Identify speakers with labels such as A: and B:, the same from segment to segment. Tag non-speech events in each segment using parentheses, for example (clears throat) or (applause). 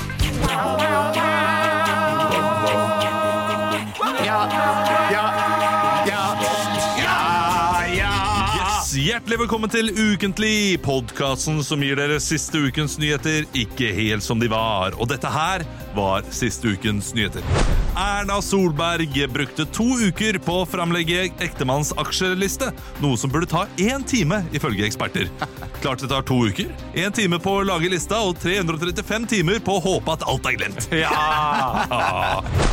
A: Eh,
B: Hjertelig velkommen til Ukentlig, podkasten som gir dere siste ukens nyheter ikke helt som de var. Og dette her var siste ukens nyheter. Erna Solberg brukte to uker på å framlegge ektemannens aksjeliste, noe som burde ta én time, ifølge eksperter. Klart det tar to uker, én time på å lage lista og 335 timer på å håpe at alt er glemt. Ja!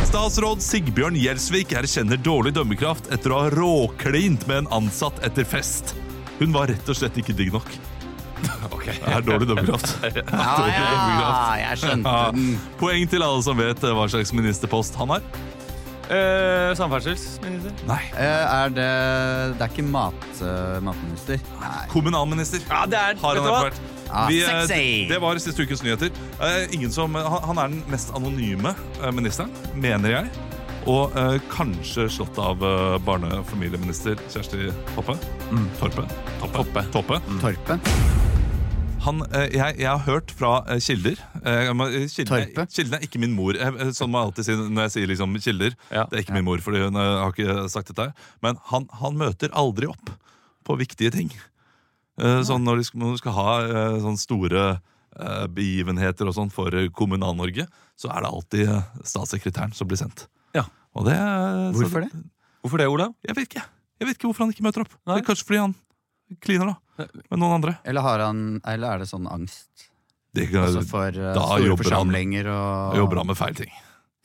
B: Statsråd Sigbjørn Gjelsvik erkjenner dårlig dømmekraft etter å ha råklint med en ansatt etter fest. Hun var rett og slett ikke digg nok. Det er dårlig dømmekraft. (laughs)
C: Ja, ja, jeg skjønte den.
B: Poeng til alle som vet hva slags ministerpost han har.
A: Eh, samferdselsminister?
B: Nei.
C: Eh, Er det Det er ikke mat, eh, matminister? Nei.
B: Kommunalminister.
A: Ja, det er
B: Har han vært.
C: Ah,
B: Vi, eh,
C: sexy.
B: det var siste ukens nyheter. Eh, ingen som, han, han er den mest anonyme eh, ministeren, mener jeg. Og eh, kanskje slått av eh, barne- og familieminister Kjersti Hoppe. Torpe. Toppe. Toppe.
C: Mm. Torpe?
B: Han, eh, jeg, jeg har hørt fra eh, kilder eh, jeg må- eh, kilden, er,
C: Torpe?
B: kilden er ikke min mor. Eh, eh, Sånn må jeg alltid si når jeg sier liksom kilder.
A: Ja.
B: Det er ikke min mor, fordi hun eh, har ikke sagt dette. her. Men han, han møter aldri opp på viktige ting. Eh, Sånn når du skal, når de skal ha eh, sånne store eh, begivenheter og sånn for eh, Kommunal-Norge, så er det alltid eh, statssekretæren som blir sendt.
A: Ja.
B: Og det, eh, så-
C: Hvorfor det?
A: Hvorfor det, Olav?
B: Jeg vet ikke. Jeg vet ikke hvorfor han ikke møter opp.
A: Nei.
B: Det er kanskje fordi han kliner da, med noen andre.
C: Eller, har han, eller er det sånn angst?
B: Det kan,
C: Altså for eh,
B: jobber
C: store
B: han-
C: forsamlinger og
B: jobber han med feil ting.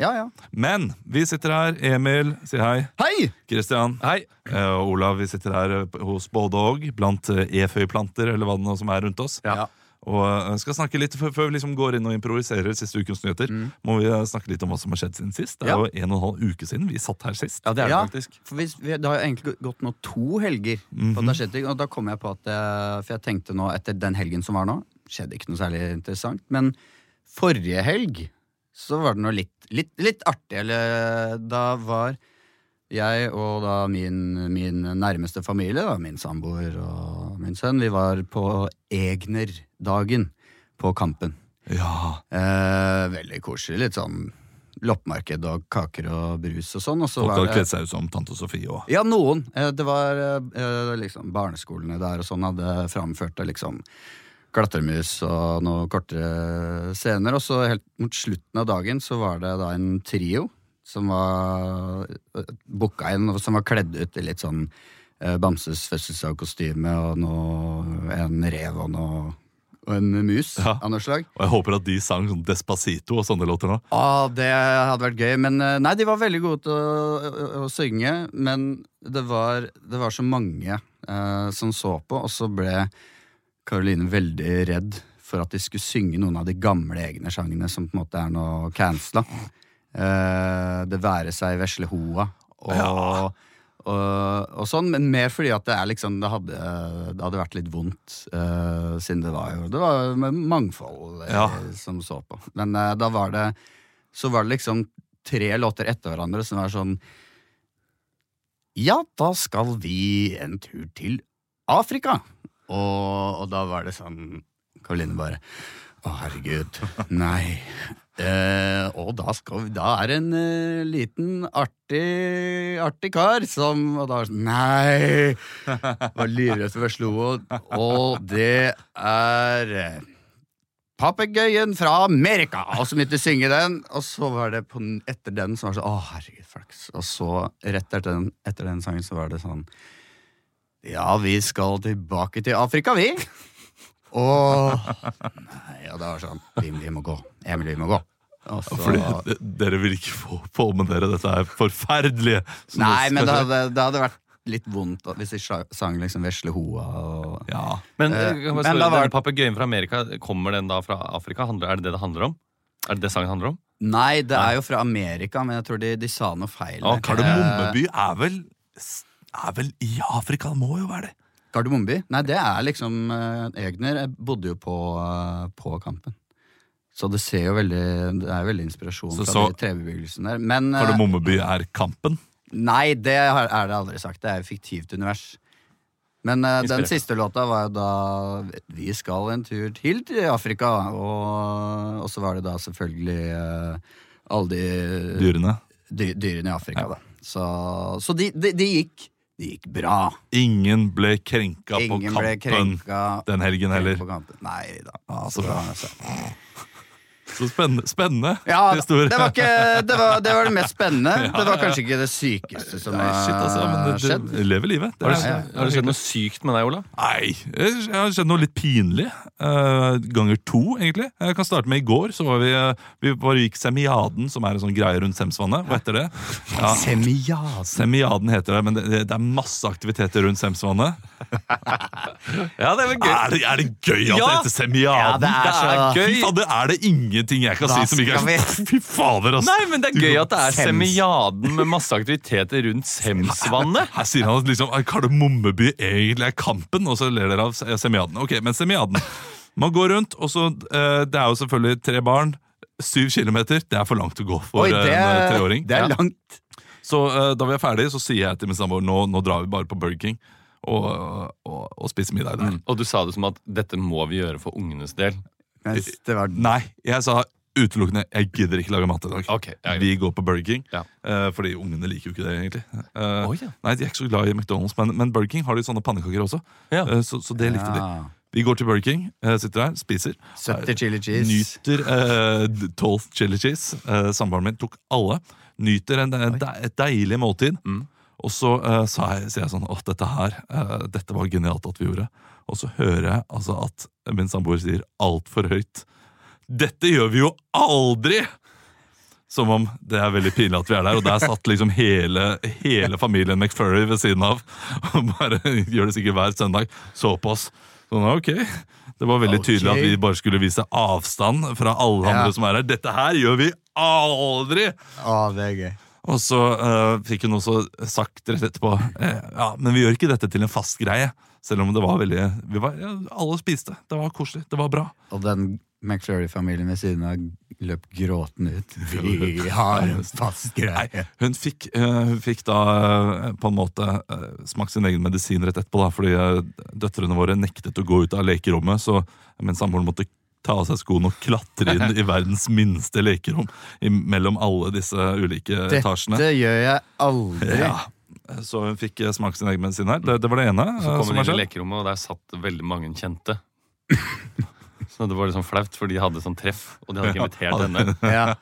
C: Ja, ja.
B: Men vi sitter her, Emil, si hei.
C: Hei!
B: Kristian
A: Hei.
B: eh, og Olav, vi sitter her eh, hos både og, blant eh, eføyplanter eller hva det nå som er rundt oss.
C: Ja.
B: Og eh, skal snakke litt, før, før vi liksom går inn og improviserer siste ukens nyheter, må vi eh, snakke litt om hva som har skjedd siden sist. Det er
A: Ja.
B: jo en og en halv uke siden vi satt her sist.
A: Ja, det er det
C: Ja.
A: faktisk.
C: For hvis, vi, det har jo egentlig gå- gått nå to helger. på at det har skjedd ting, Og da kom jeg på at jeg, For jeg tenkte nå etter den helgen som var nå, skjedde ikke noe særlig interessant. Men forrige helg så var det noe litt, litt, litt artig. Eller da var jeg og da min, min nærmeste familie, da, min samboer og min sønn, vi var på Egner-dagen på Kampen.
B: Ja,
C: Eh, veldig koselig. Litt sånn loppemarked og kaker og brus og sånn. Og så
B: Folk
C: var
B: har
C: det
B: kledd seg ut som tante Sofie og
C: ja, noen. Eh, Det var eh, liksom barneskolene der og sånn hadde framført det liksom klatremus og noen kortere scener. Og så helt mot slutten av dagen så var det da en trio som var eh, booka inn, og som var kledd ut i litt sånn eh, Bamses fødselsdagskostyme og noe, en rev og noe og en mus
B: Ja.
C: av noe slag.
B: Og jeg håper at de sang sånn Despacito og sånne låter nå.
C: Ah, det hadde vært gøy, men eh, nei, de var veldig gode til å, å, å synge. Men det var, det var så mange eh, som så på, og så ble Karoline veldig redd for at de skulle synge noen av de gamle egne sangene som på en måte er nå cancela. Eh, det være seg vesle hoa og,
B: Ja.
C: og, og sånn, men mer fordi at det er liksom Det hadde, det hadde vært litt vondt, eh, siden det var jo Det var jo med mangfold eh,
B: Ja.
C: som så på. Men eh, da var det Så var det liksom tre låter etter hverandre som var sånn Ja, da skal vi en tur til Afrika. Og, og da var det sånn Karoline bare Å, herregud. Nei. Eh, og da, skal vi, da er det en eh, liten, artig, artig kar som Og da var det sånn Nei! Var livredd for Veslo. Og, og det er eh, Papegøyen fra Amerika! Og så begynte de å synge den, og så var det på, n- etter den så var det sånn Å, herregud, flaks. Og så, rett etter den, etter den sangen, så var det sånn Ja, vi skal tilbake til Afrika, vi! Åh Nei, og det var sånn Vi, vi må gå. Emil, vi må gå. Og så,
B: Fordi de, dere vil ikke få på med dere dette er forferdelige. som
C: nei,
B: det-
C: men det hadde, det hadde vært litt vondt da, hvis de sja- sang liksom Vesle Hoa og
B: Ja.
A: Men,
C: Eh,
A: eh, kan
C: men
A: jeg
C: da
A: spørre,
C: var-
A: denne papegøyen fra Amerika, kommer den da fra Afrika? Handler, er det det det handler om? Er det det sangen handler om?
C: Nei, det er jo fra Amerika, men jeg tror de, de sa noe feil.
A: Ja,
B: Kardemommeby er vel er vel i Afrika, det må jo være det.
C: Kardemommeby? Nei, det er liksom eh, Egner jeg bodde jo på, eh, på kampen. Så det ser jo veldig Det er veldig inspirasjon
B: Så-
C: fra
B: så-
C: de trebebyggelsen der. Men eh,
B: Kardemommeby er Kampen.
C: Nei, det har- er det aldri sagt. Det er jo fiktivt univers. Men eh, den
A: Inspirert.
C: siste låta var jo da Vi skal en tur til til Afrika. Og, og så var det da selvfølgelig eh, alle de
B: Dyrene.
C: dy- dyrene i Afrika, da. Så, så de, de, de gikk. Det gikk bra.
B: Ingen ble krenka på
C: Ingen
B: kampen
C: ble krenka
B: den helgen heller.
C: på kampen. Nei da.
B: så
C: Så
B: bra.
C: bra. altså.
B: Så spennende, spennende
C: Ja, det
B: (laughs) historie.
C: var, ikke, det, var, det var det mest
B: (laughs)
C: spennende. Det var kanskje ikke det sykeste som
B: Nei, shit, altså,
C: har
B: men
C: skjedd.
B: du, du lever livet. Det
A: Har
B: er-
A: det, har det skjedd noe sykt med deg, Ola?
B: Nei, det har skjedd noe litt pinlig. eh, ganger to, egentlig. Jeg kan starte med i går. så var Vi eh, Vi bare gikk Semiaden, som er en sånn greie rundt Semsvannet. Og etter det ja,
C: Semias.
B: Semiaden heter det, men det, det er masse aktiviteter rundt Semsvannet.
A: Ja, det er vel
B: Er, det- er det gøy at det
A: Ja!
B: heter
C: Ja,
B: Semiaden?
C: det er så-
B: Fy fader, er det ingenting jeg kan
C: Hva
B: si som ikke
C: skal
B: er sånn Fy fader, ass!
A: Nei, men det er gøy at det er
C: Sems.
A: semiaden med masse aktiviteter rundt Semsvannet.
B: Her sier han at liksom, Kardemommeby egentlig er kampen, og så ler dere av se- semiaden. Ok, men semiaden. Man går rundt, og så eh, Det er jo selvfølgelig tre barn. Syv kilometer. Det er for langt å gå for
C: Oi, det,
B: en eh, treåring.
C: det
B: Ja.
C: er langt.
B: Så eh, da vi er ferdige, så sier jeg til min samboer nå, nå drar vi bare på Burger King og, og, og spiser middag der.
A: Og du sa det som at dette må vi gjøre for ungenes del.
C: Mens det var
B: Nei, jeg sa utelukkende jeg gidder ikke lage mat i dag.
A: Ok, ja, greit.
B: vi går på Burger King,
A: Ja.
B: eh, fordi ungene liker jo ikke det, egentlig. Eh,
A: Å, ja.
B: Nei, De er ikke så glad i McDonald's, men, men Burger King har de sånne pannekaker også.
A: Ja.
B: Eh, så, så det likte de.
C: Ja.
B: Vi går til Burger King, eh, sitter der, spiser.
C: 70 chili cheese.
B: Nyter eh, 12 chili cheese. Eh, Samboeren min tok alle. Nyter en, en, de- et deilig måltid. Og så eh, sa jeg, sier jeg sånn at dette her, eh, dette var genialt at vi gjorde. Og så hører jeg altså at min samboer sier altfor høyt Dette gjør vi jo aldri! Som om det er veldig pinlig at vi er der. Og der satt liksom hele, hele familien McFurry ved siden av. (laughs) Og bare gjør det sikkert hver søndag. Så på oss. Sånn, ok. Det var veldig tydelig at
C: Ok.
B: vi bare skulle vise avstand fra alle
C: Ja.
B: andre som er her. Dette her gjør vi aldri!
C: Å, det er gøy.
B: Og så eh, fikk hun også sagt rett etterpå eh, Ja, men vi gjør ikke dette til en fast greie. Selv om det var veldig vi var, ja, Alle spiste. Det var koselig. Det var bra.
C: Og den McFlurry-familien ved siden av løp gråtende ut. Vi har en fast
B: Nei,
C: greie.
B: hun fikk, eh, hun fikk da eh, på en måte eh, smakt sin egen medisin rett etterpå, da, fordi eh, døtrene våre nektet å gå ut av lekerommet, så min samboer måtte ta av seg skoene og klatre
C: (laughs)
B: inn i verdens minste lekerom i- mellom alle disse ulike etasjene.
C: Dette gjør jeg aldri.
B: Ja. Så hun fikk eh, smakt sin egen medisin her. Det, det var det ene.
A: Så
B: eh,
A: kom
B: som
A: hun inn
B: har
A: i
B: skjedd.
A: lekerommet, og der satt veldig mange kjente. Så det var liksom flaut, for de hadde sånn treff, og de hadde ikke invitert henne.
C: Ja.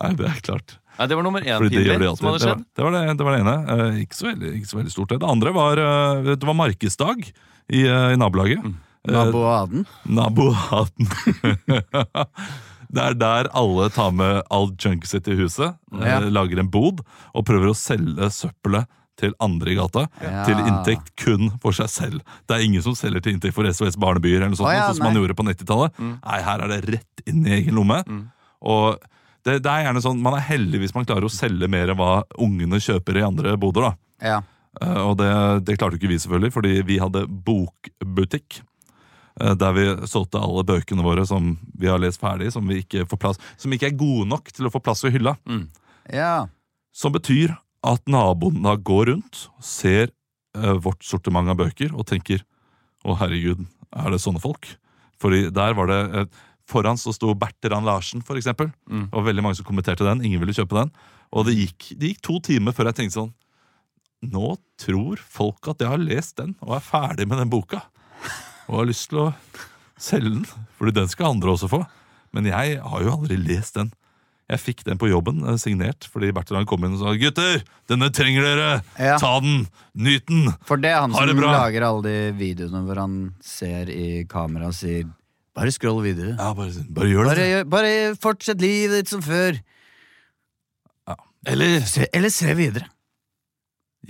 B: Nei, det er klart.
A: Nei, Det var nummer én
B: Fordi det gjør de
A: pinlig
B: alltid.
A: som hadde
B: Det var
A: skjedd.
B: det, var det, det, var det ene. Eh, ikke, så veldig, ikke så veldig stort. Det Det andre var, eh, det var markedsdag i, eh, i nabolaget.
A: Mm.
B: Eh,
C: Naboaden.
B: Nabohaten. (laughs) det er der alle tar med all junket sitt i huset,
C: Ja.
B: eh, lager en bod og prøver å selge søppelet til andre i gata
C: Ja.
B: til inntekt kun for seg selv. Det er ingen som selger til inntekt for SOS Barnebyer, eller noe sånt,
C: Å ja,
B: sånn som man
C: nei. Mm.
B: gjorde på 90-tallet. Nei, her er det rett inn i egen lomme. Og det, det er gjerne sånn, Man er heldig hvis man klarer å selge mer enn hva ungene kjøper i andre boder. da.
C: Ja.
B: Eh, Og det, det klarte jo ikke vi, selvfølgelig, fordi vi hadde bokbutikk. eh, Der vi solgte alle bøkene våre som vi har lest ferdig, som, vi ikke, får plass, som ikke er gode nok til å få plass ved hylla.
C: ja.
B: Som betyr at naboen da går rundt, ser eh, vårt sortiment av bøker og tenker Å, herregud, er det sånne folk? Fordi der var det eh, Foran så sto Bertrand Larsen, for eksempel.
A: Mm.
B: Det var veldig mange som kommenterte den. Ingen ville kjøpe den. Og det gikk, det gikk to timer før jeg tenkte sånn Nå tror folk at jeg har lest den og er ferdig med den boka. Og har lyst til å selge den, fordi den skal andre også få. Men jeg har jo aldri lest den. Jeg fikk den på jobben, eh, signert, fordi Bertrand kom inn og sa 'Gutter, denne trenger dere!
C: Ja.
B: Ta den! Nyt den!'
C: For det er han
B: Ha det
C: som
B: bra.
C: lager alle de videoene hvor han ser i kamera og sier Bare scroll videre.
B: Ja, bare, bare gjør
C: Bare,
B: det.
C: gjør- bare fortsett livet ditt som før.
A: Eller
C: Se, eller se videre.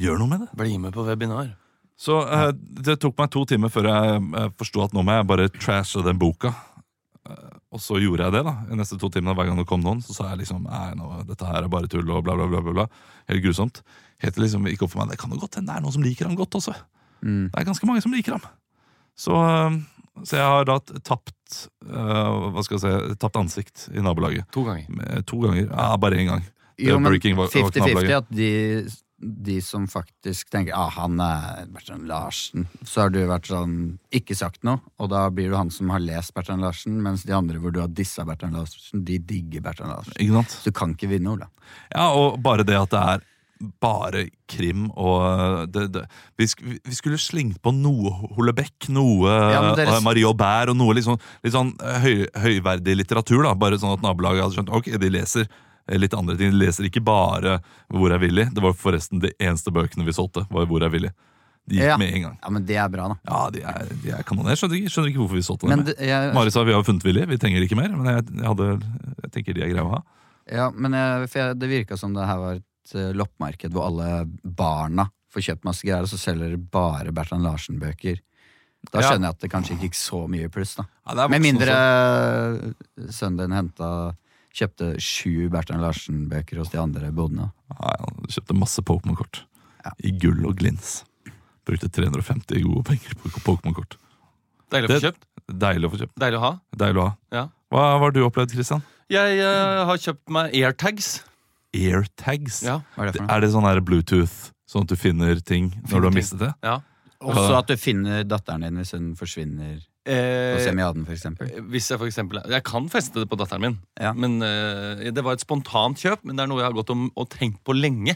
B: Gjør noe med det.
A: bli med på webinar.
B: Så eh, det tok meg to timer før jeg eh, forsto at nå må jeg bare trashe den boka. Eh, og så gjorde jeg det, da. I neste to timene hver gang det kom noen, så sa jeg liksom Nei, nå, dette her er bare tull og bla, bla, bla. bla, bla. Helt grusomt. Helt til liksom det gikk opp for meg. Det kan jo godt hende det er noen som liker ham godt også.
C: Mm.
B: Det er ganske mange som liker ham. Så, eh, så jeg har da t- tapt eh, Hva skal jeg si Tapt ansikt i nabolaget.
A: To ganger.
B: Med- To ganger. Ja, bare én gang.
C: Jo, men
B: Burger King var- var
C: 50-50
B: knabelaget.
C: at de, de som faktisk tenker ah, han er Bertrand Larsen, så har du vært sånn ikke sagt noe, og da blir du han som har lest Bertrand Larsen, mens de andre hvor du har dissa Bertrand Larsen, de digger Bertrand Larsen.
B: Ikke sant?
C: Så du kan ikke vinne, Ola.
B: Ja, og bare det at det er bare krim og eh, det, det. Vi, sk vi skulle slenge på noe Holebekk, noe
C: Ja, men dere-
B: eh, Marie Aubert og noe litt sånn, litt sånn eh, høy, høyverdig litteratur. da, Bare sånn at nabolaget hadde skjønt ok, de leser eh, litt andre ting. De leser ikke bare Hvor er Willy. Det var forresten de eneste bøkene vi solgte. var Hvor er Willy. De gikk
C: Ja.
B: med en gang.
C: Ja, men det er bra, da.
B: Ja, de er, de er kanon. Jeg skjønner ikke, skjønner ikke hvorfor vi solgte dem.
C: Men, det, jeg,
B: Mari sa vi har funnet Willy, vi trenger ikke mer. Men jeg, jeg, hadde, jeg tenker de er greie å ha.
C: ja, men jeg, for jeg, det virka som det her var et eh, loppemarked hvor alle barna får kjøpt masse greier, og så selger de bare Bertrand Larsen-bøker. Da
B: Ja.
C: skjønner jeg at det kanskje ikke gikk så mye i pluss, da.
B: Ja, det er
C: Med
B: voksen
C: mindre
B: også.
C: eh, sønnen din henta Kjøpte sju Bertrand Larsen-bøker hos de andre bodene.
B: Nei, han kjøpte masse Pokémon-kort.
C: Ja.
B: I gull og glins. Brukte 350 gode penger på Pokémon-kort.
A: Deilig å få
B: Det-
A: kjøpt.
B: Deilig å få kjøpt.
A: Deilig å ha.
B: Deilig å ha.
A: Ja.
B: Hva hva har du opplevd, Christian?
A: Jeg eh, har kjøpt meg airtags.
B: Airtags?
A: Ja.
C: Hva er det for noe?
B: Er det sånn her Bluetooth, sånn at du finner ting når du har mistet det?
A: ja.
C: Også at du finner datteren din hvis hun forsvinner på
A: Eh,
C: Semiaden, for eksempel.
A: hvis jeg for eksempel Jeg kan feste det på datteren min.
C: Ja.
A: Men eh, Det var et spontant kjøp, men det er noe jeg har gått om og tenkt på lenge.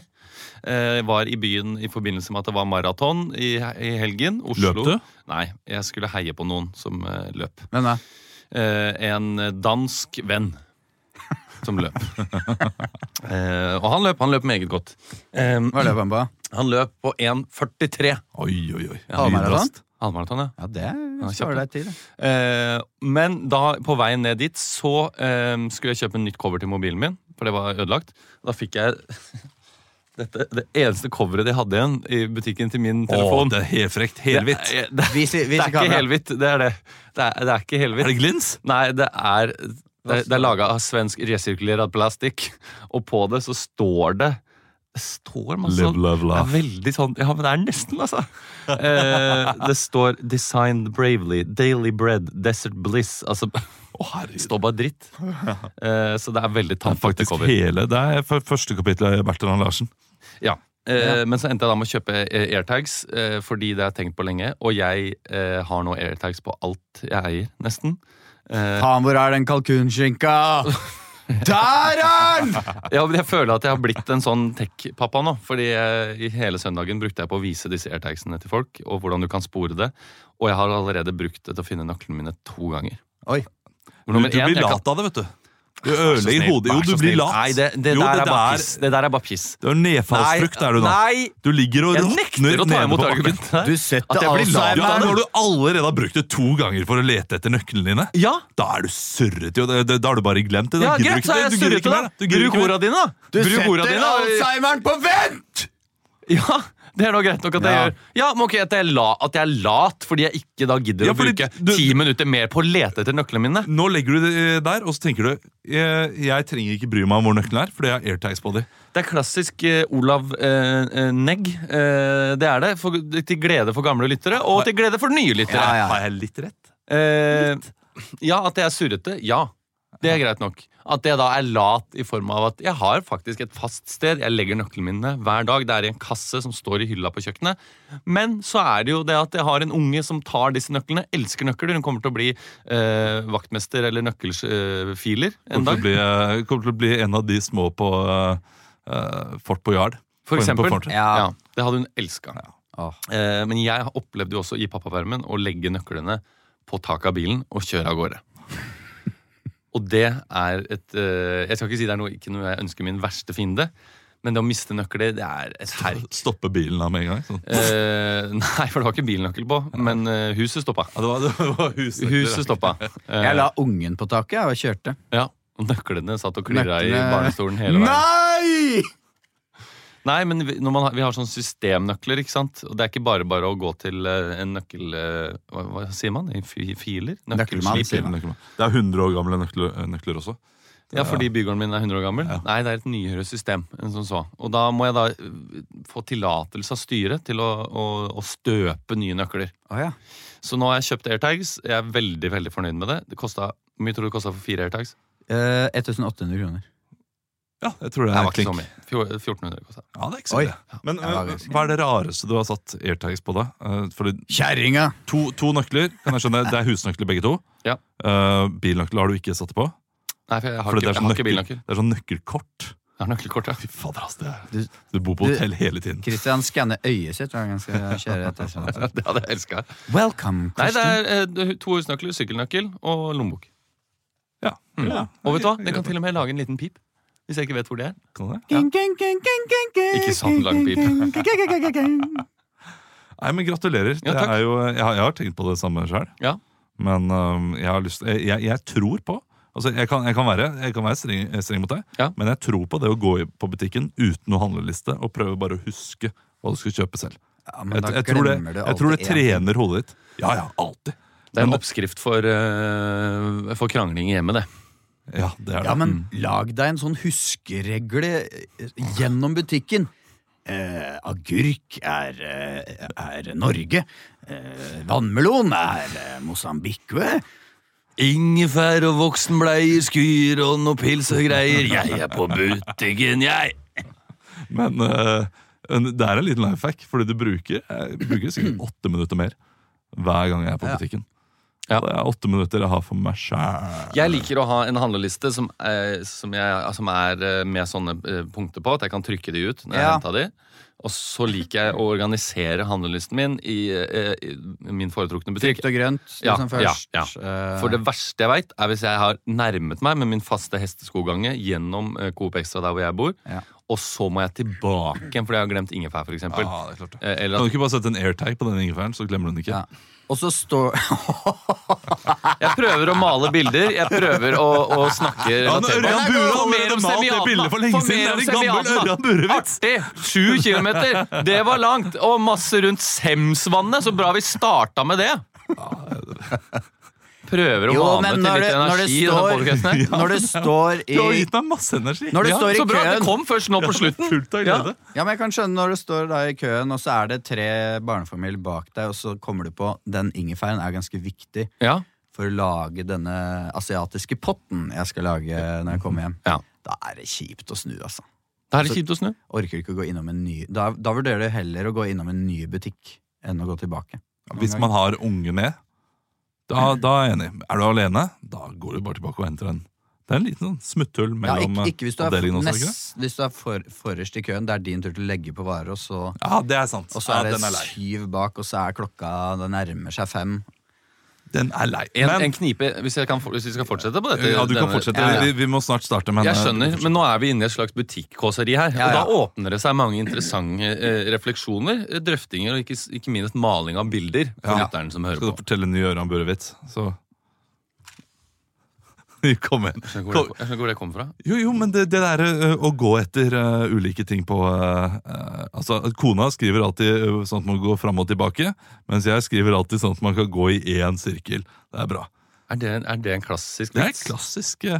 A: Eh, Jeg var i byen i forbindelse med at det var maraton i, i helgen. Oslo.
B: Løp du?
A: Nei, jeg skulle heie på noen som eh, løp.
C: Hvem da?
A: Eh, en dansk venn som løp. eh, og han løp, han løp meget godt. Eh,
C: Hva løp han på?
A: han løp på 1,43.
B: Oi, oi, oi.
A: Ja,
C: men er det
B: Lydraskt.
A: Halvmaraton, ja.
C: Ja, det
A: kjøpte.
C: svarer deg til.
A: Eh, men da, på veien ned dit, så eh, skulle jeg kjøpe en nytt cover til mobilen min, for det var ødelagt. Da fikk jeg (laughs) dette, det eneste coveret de hadde igjen i butikken til min
B: Å,
A: telefon.
B: det er helfrekt. Helhvitt.
A: Det, er- det, er-
C: Vis,
A: det
C: vis
A: er ikke helhvitt, det er det. Det er, det er ikke
B: Er
A: helhvitt.
B: det glins?
A: Nei, det er det, det er laga av svensk resirkulert plastikk, og på det så står det Det står masse
B: Live,
A: sånn
B: love,
A: det er
B: laugh.
A: veldig sånn Ja, men det er nesten, altså. Eh, det står 'Designed bravely', 'Daily bread', 'Desert bliss'. Altså, (laughs)
B: Å, herregud.
A: det står bare dritt. Eh, så det er veldig
B: Det er
A: tamt.
B: faktisk
A: cover.
B: hele. Det er f- første kapittel av Bertrand Larsen.
A: Ja. Eh, Men så endte jeg da med å kjøpe eh, airtags, eh, fordi det har jeg tenkt på lenge. Og jeg eh, har nå airtags på alt jeg eier, nesten.
C: (laughs)
A: Eh,
C: Faen, hvor er den kalkunskinka? Der er den!
A: ja, men jeg føler at jeg har blitt en sånn tech-pappa nå. Fordi jeg, i hele søndagen brukte jeg på å vise disse airtagsene til folk, og hvordan du kan spore det. Og jeg har allerede brukt det til å finne nøklene mine to ganger.
C: Oi.
B: Du, du
A: Nummer én, jeg
B: blir
A: kan-
B: lat av det, vet du. Du
A: Vær så
B: ødelegger
A: snill,
B: hodet.
A: vær
B: Jo,
A: så
B: du blir
A: snill.
B: lat.
A: Nei, det, det,
B: jo,
A: der
B: det
A: er bare piss. det der er bare piss.
B: Du er nedfallsfrukt, er du da.
A: Nei!
B: Du ligger og
A: Jeg
B: råtner
A: nekter å ta
B: nede
A: imot
B: på bakken.
A: argumentet her.
C: Du setter
A: At jeg blir lat.
C: Alzheimer.
B: Ja, men når du allerede har brukt det to ganger for å lete etter nøklene dine,
A: Ja,
B: da er du surret jo. Det- det- Da har du bare glemt det. Da
A: ja
B: gidder du
A: greit,
B: ikke
A: så er jeg
B: det. Du gidder
A: surrete,
B: ikke mer,
A: da.
B: Du gidder
A: Bruk
B: ikke mer.
A: orda dine, da.
C: Du
A: Bruk orda
C: setter
A: dine. da.
C: Alzheimeren på vent!
A: Ja, det er nå greit nok at jeg
C: Ja.
A: gjør. Ja, men ok, at jeg, la, at jeg er lat fordi jeg ikke da gidder
B: Ja,
A: å
B: fordi
A: bruke
B: du-
A: ti minutter mer på å lete etter nøklene mine.
B: Nå legger du det eh, der, og så tenker du jeg, jeg trenger ikke bry meg om hvor nøkkelen er, for jeg har airtags på dem.
A: Det er klassisk eh, Olav eh, eh, Negg. Eh, det er det. For, til glede for gamle lyttere, og til glede for nye lyttere.
C: Ja, ja.
B: Har jeg litt rett?
A: Eh, ja, at jeg er surrete. Ja, det er greit nok. At jeg da er lat i form av at jeg har faktisk et fast sted. Jeg legger nøklene mine hver dag. Det er i en kasse som står i hylla på kjøkkenet. Men så er det jo det at jeg har en unge som tar disse nøklene. Elsker nøkler. Hun kommer til å bli eh, vaktmester eller nøkkelfiler en
B: Kommer
A: dag.
B: til, å bli, eh, kommer til å bli en av de små på eh, Fort Boyard.
A: For
B: På- på
A: eksempel.
B: Fort.
C: Ja.
A: Ja, det hadde hun elska.
C: Åh.
A: Eh, men jeg opplevde jo også i pappapermen å legge nøklene på taket av bilen og kjøre av
C: (laughs)
A: gårde. Og det er et eh, Jeg skal ikke si det er noe, ikke noe jeg ønsker min verste fiende, men det å miste nøkler, det er et herk.
C: (laughs)
B: (laughs) Stoppe bilen da med en gang. Sånn.
A: Eh, nei, for det var ikke bilnøkkel på, men eh, huset stoppa.
B: Ja, det var, det var husnøkler.
A: Huset stoppa. Eh,
C: (laughs) Jeg la ungen på taket jeg, og kjørte.
A: ja. Og nøklene satt og klirra i
C: Nøklene-
A: barnestolen hele veien.
C: Nei!
A: Nei, men vi, når man har, vi har sånn systemnøkler, ikke sant? Og det er ikke bare bare å gå til eh, en nøkkel... eh, hva, hva sier man? En fi- Filer?
C: Nøkkelmann,
A: Nøkkelslip?
C: sier man.
B: Nøkkelmann. Det er 100 år gamle nøkler, eh, nøkler også.
A: Ja, fordi bygården min er 100 år gammel? Nei, det er et nyere system. enn som så. Og da må jeg da eh, få tillatelse av styret til å, å, å støpe nye nøkler.
C: Å ja.
A: Så nå har jeg kjøpt airtags. Jeg er veldig veldig fornøyd med det. Det kostet, Hvor mye tror du det kosta for fire airtags?
C: Eh, 1800 kroner.
B: Ja, jeg tror det
A: Det
B: er
A: var ikke så
B: klink.
A: mye. Fjor- 1400 kosta.
B: Ja, det er ikke så
C: Oi.
B: mye. Men
C: Ja, det var
B: øh,
C: ganske-
B: hva er det rareste du har satt airtags på, da? Eh, Fordi
C: Kjerringa!
B: to, to nøkler, kan jeg skjønne. Det er husnøkler, begge to.
A: Ja.
B: Eh, bilnøkler har du ikke satt det på.
A: Nei, for jeg har ikke,
B: Fordi det er
A: jeg
B: sånn
A: har ikke
B: nøkkel-
A: bilnøkkel.
B: Det er sånn nøkkelkort.
A: Jeg har
B: (laughs)
A: nøkkelkortet.
B: Fy fader, ass, det er
C: Du-
B: Du bor på
C: du-
B: hotell hele tiden.
C: Christian skanner øyet sitt hver gang han skal kjøre et eller annet.
A: Det hadde jeg elska.
C: Welcome,
A: Nei, det
C: Christian.
A: er eh, to husnøkler, sykkelnøkkel og lommebok.
B: Ja. ja.
A: Mm. Og vet du hva? Den kan til og med lage en liten pip. Hvis jeg ikke vet hvor det er.
B: Kan det?
A: Ikke sånn lang pip.
B: Nei, men gratulerer.
A: Ja,
B: det
A: takk.
B: er jo, jeg, har- jeg har tenkt på det samme sjøl.
A: Ja.
B: Men øhm, jeg har lyst Jeg, jeg, jeg tror på Altså, jeg kan, jeg kan være, jeg kan være streng, eh, streng mot deg,
A: Ja.
B: men jeg tror på det å gå i- på butikken uten noe handleliste og prøve bare å huske hva du skal kjøpe selv.
C: Ja, men
B: Jeg,
C: da
B: jeg, tror, det,
C: glemmer du
B: jeg tror det
C: alltid en.
B: trener hodet ditt. Ja, ja, alltid.
A: Det er en oppskrift for, eh, for krangling i hjemmet, det.
B: Ja, det er det.
C: Ja, men
A: mm.
C: lag deg en sånn huskeregle eh, gjennom butikken. Eh, agurk er, eh, er Norge. Eh, vannmelon er eh, Mosambikue.
A: Ingefær og voksenbleier, skyr og noe pils og greier. Jeg er på butikken, jeg!
B: Men øh, en- det er en liten life hack, fordi du bruker, jeg bruker sikkert åtte minutter mer hver gang jeg er på butikken.
A: Ja.
B: Det er åtte minutter jeg har for meg sjæl.
A: Jeg liker å ha en handleliste som, eh, som, jeg, som er eh, med sånne eh, punkter på, at jeg kan trykke de ut når jeg
C: Ja.
A: henter de. Og så liker jeg å organisere handlelisten min i, eh, i min foretrukne butikk.
C: Trygt og grønt
A: Ja,
C: liksom
A: ja,
C: først.
A: ja.
C: Eh,
A: For det verste jeg veit, er hvis jeg har nærmet meg med min faste hesteskogange gjennom eh, Coop Extra der hvor jeg bor,
C: Ja.
A: og så må jeg tilbake igjen fordi jeg har glemt ingefær, f.eks. eksempel
C: Ah.
B: Ja, det er klart det.
A: Eh,
B: Kan
A: Eller
B: du ikke bare sette en airtag på den ingefæren, så glemmer du den ikke?
C: ja. Og så (laughs) står
A: at jeg prøver å male bilder, jeg prøver å, å snakke
B: Ja, men
A: relaterbart.
B: Ørjan Bure
A: Få
B: har
A: mer
B: allerede
A: om
B: malt det
A: Seviana,
B: bildet for lenge
A: få
B: siden.
A: mer
B: Det er
A: om
B: en gammel
A: Seviana.
B: Ørjan Bure-vits!
A: Artig! Sju kilometer! Det var langt! Og masse rundt Semsvannet. Så bra vi starta med det. Prøver å
C: Jo,
A: mane
C: men
A: til
C: når
A: litt
C: det, når det
A: energi i denne
C: (laughs)
A: podcasten
B: (laughs)
A: her.
C: står Når det står i
B: Du har gitt meg masse energi.
C: Når det
A: Ja,
C: står i
A: så bra! Det
C: køen
A: kom først nå på slutten.
B: Fullt av glede.
C: Ja, men jeg kan skjønne når du står da i køen, og så er det tre barnefamilier bak deg, og så kommer du på den ingefæren er ganske viktig.
A: Ja.
C: for å lage denne asiatiske potten jeg skal lage når jeg kommer hjem.
A: Ja.
C: Da er det kjipt å snu, altså.
A: Da er det kjipt å snu.
C: Orker ikke å gå innom en ny Da, da vurderer du heller å gå innom en ny butikk enn å gå tilbake.
B: Hvis man har unge med, da, da er jeg enig. Er du alene, da går du bare tilbake og henter en. Det er en liten sånn smutthull
C: ja,
B: mellom
C: ikke, ikke hvis du er,
B: avdelingen også, ikke det?
C: nest, hvis du er for, forrest i køen. Det er din tur til å legge på varer, og så,
B: Ja, det er sant.
C: og så er
B: ja,
C: det
B: den er lei.
C: syv bak, og så er klokka Det nærmer seg fem.
B: Den er lei.
A: En,
B: Men,
A: en knipe, hvis, jeg kan, for- hvis vi skal fortsette på dette
B: ja, du kan
A: denne-
B: fortsette.
A: Ja, ja.
B: Vi, vi må snart starte, men
A: Jeg skjønner, men nå er vi inne i et slags butikkåseri her.
C: Ja, ja.
A: Og da åpner det seg mange interessante eh, refleksjoner, eh, drøftinger og ikke, s- ikke minst maling av bilder for
B: Ja.
A: lytteren som hører
B: Skal du
A: på.
B: fortelle en ny Ørjan Bure-vits, så (laughs) Kom igjen.
A: Jeg skjønner hvor
B: Kom.
A: det- jeg skjønner hvor det kommer fra.
B: Jo, jo, men det, det der ø, å gå etter ø, ulike ting på ø, ø, Altså, kona skriver alltid ø, sånn at man går fram og tilbake, mens jeg skriver alltid sånn at man kan gå i én sirkel. Det er bra.
A: Er det, en- er det en klassisk
B: Det er
A: vits?
B: klassisk ø.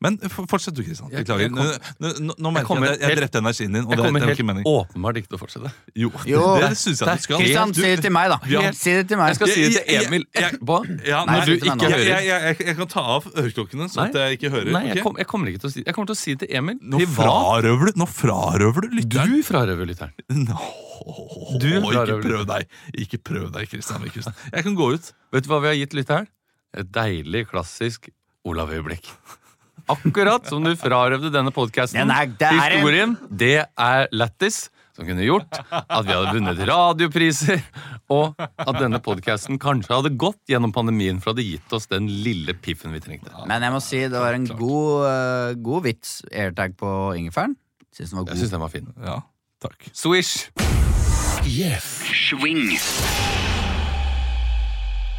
B: Men f- fortsett du, Kristian.
A: Jeg-
B: Beklager.
A: jeg kom-
B: Nå, nå, nå
A: Jeg
B: merker
A: kommer
B: jeg at jeg, jeg
A: helt-
B: drepte energien
A: Jeg
B: din, og det, det
A: kommer
B: er jo ikke
A: helt
B: meningen.
A: åpenbart ikke til å fortsette.
B: Jo,
C: (laughs) Jo,
B: det, det syns jeg
A: det er
B: du skal.
A: helt-
C: Kristian, si det til meg, da.
B: Ja.
C: Si det til meg.
A: Jeg skal si det
B: Jeg-
A: til
B: jeg-
A: Emil etterpå.
B: Ja,
C: Nei,
B: nei,
A: du ikke
C: slutt med det.
B: jeg,
A: hører.
B: jeg, jeg, jeg kan ta av øreklokkene, så at jeg ikke hører.
A: Nei, jeg,
B: ok?
A: kom, jeg kommer ikke til å si Jeg kommer til å si det til Emil.
B: Nå
A: Privat.
B: frarøver du, nå frarøver du lytteren.
A: Du frarøver lytteren.
B: Nå,
A: Du
B: ikke
A: frarøver
B: prøv deg, ikke prøv deg, Kristian Mikkelsen. Jeg kan gå ut.
A: Vet du hva vi har gitt lytteren? Et deilig, klassisk Olav-øyeblikk. Akkurat som du frarøvde denne podkasten.
C: Den er- det er en-
A: Historien, det er lættis. Som kunne gjort at vi hadde vunnet radiopriser, og at denne podkasten kanskje hadde gått gjennom pandemien, for det hadde gitt oss den lille piffen vi trengte.
C: Men jeg må si det var en god, eh, god vits. Airtag på ingefæren. Syns den var
A: Jeg
C: god.
A: syns den var fin.
B: Ja, takk.
A: Swish!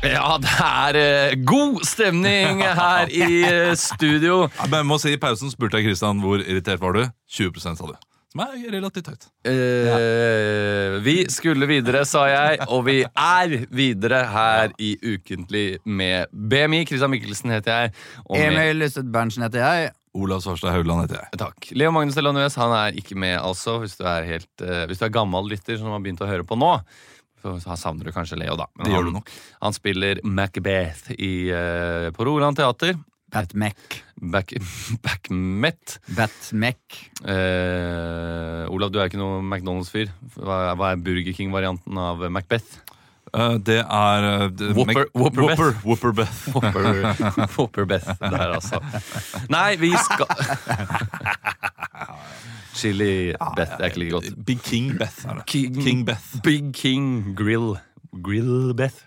A: Ja, det er eh, god stemning her i eh, studio.
B: Ja, men jeg må si, I pausen spurte jeg Kristian hvor irritert var du 20 sa du. Som er relativt høyt.
A: Eh, Vi skulle videre, sa jeg, og vi er videre her i Ukentlig med BMI. Kristian Mikkelsen heter jeg. Og med,
C: Emil Lysted Berntsen heter jeg.
B: Olav Svarstad Haugland heter jeg.
A: takk. Leo Magnus Delanius han er ikke med, altså. Hvis du er, helt, eh, hvis du er gammel lytter som har begynt å høre på nå, så så savner du kanskje Leo, da. Men
B: Det
A: han,
B: gjør du nok.
A: han spiller Macbeth i, eh, på Rogaland Teater.
C: Bat Mac.
A: Back, (laughs) Backmet.
C: Bat Mac.
A: Eh, Olav, du er ikke noe McDonald's-fyr. Hva, er- hva er Burger King-varianten av Macbeth?
B: Eh, det er eh, det-
A: Whopper-
B: Mac-
A: Whopper Beth.
B: Whopper, Whopper Beth.
A: (laughs) Popper, Popper Beth der, altså. Nei, vi skal (laughs) Chili Beth er ikke like godt.
B: Big King Beth er det.
A: King,
B: King Beth.
A: Big King Grill. Grill Beth.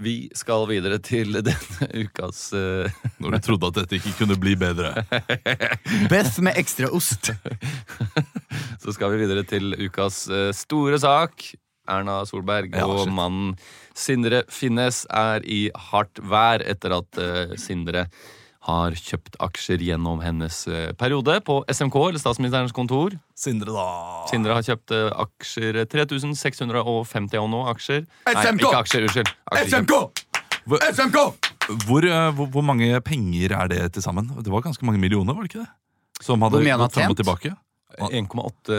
A: Vi skal videre til (laughs) denne ukas eh,
B: Når du trodde at dette ikke kunne bli
A: (laughs)
B: bedre.
C: Beth med ekstra
B: (laughs)
C: ost.
A: Så skal vi videre til ukas eh, store sak. Erna Solberg
B: Ja,
A: og
B: shit.
A: mannen Sindre Finnes er i hardt vær etter at eh, Sindre har kjøpt aksjer gjennom hennes eh, periode på SMK, eller Statsministerens kontor.
B: Sindre, da.
A: Sindre har kjøpt eh, aksjer eh, 3650 og nå aksjer.
C: SMK!
A: Nei, ikke aksjer, unnskyld. Aksjekjøp.
B: Hvor,
C: SMK!
B: hvor, eh, hvor, hvor mange penger er det til sammen? Det var ganske mange millioner, var det ikke det? Som
C: Hvor
B: hadde
C: mye han har
B: gått frem og
C: tjent?
B: tilbake.
A: 1,8